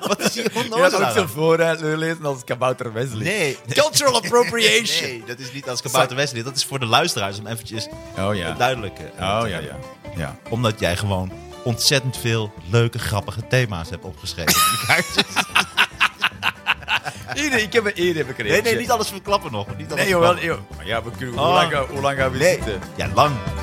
Speaker 3: wat is hier
Speaker 2: Je had ook
Speaker 3: aan?
Speaker 2: zo vooruit lezen als kabouter Wesley.
Speaker 3: Nee.
Speaker 2: Cultural appropriation.
Speaker 3: Nee, dat is niet als kabouter Wesley. Dat is voor de luisteraars om eventjes
Speaker 2: Oh ja.
Speaker 3: het eh, duidelijke.
Speaker 2: Oh ja, ja. ja.
Speaker 3: Omdat jij gewoon ontzettend veel leuke, grappige thema's hebt opgeschreven. in die kaartjes.
Speaker 2: Hier, ik heb een eer heb ik er
Speaker 3: nee, nee,
Speaker 2: eentje.
Speaker 3: niet alles verklappen nog. Niet alles
Speaker 2: Nee, jawel. Ah.
Speaker 3: verklappen.
Speaker 2: joh. Maar ja, we kunnen,
Speaker 3: Oh.
Speaker 2: hoe, lang, gaan- hoe lang gaan we
Speaker 3: Nee.
Speaker 2: zitten?
Speaker 3: Ja, lang.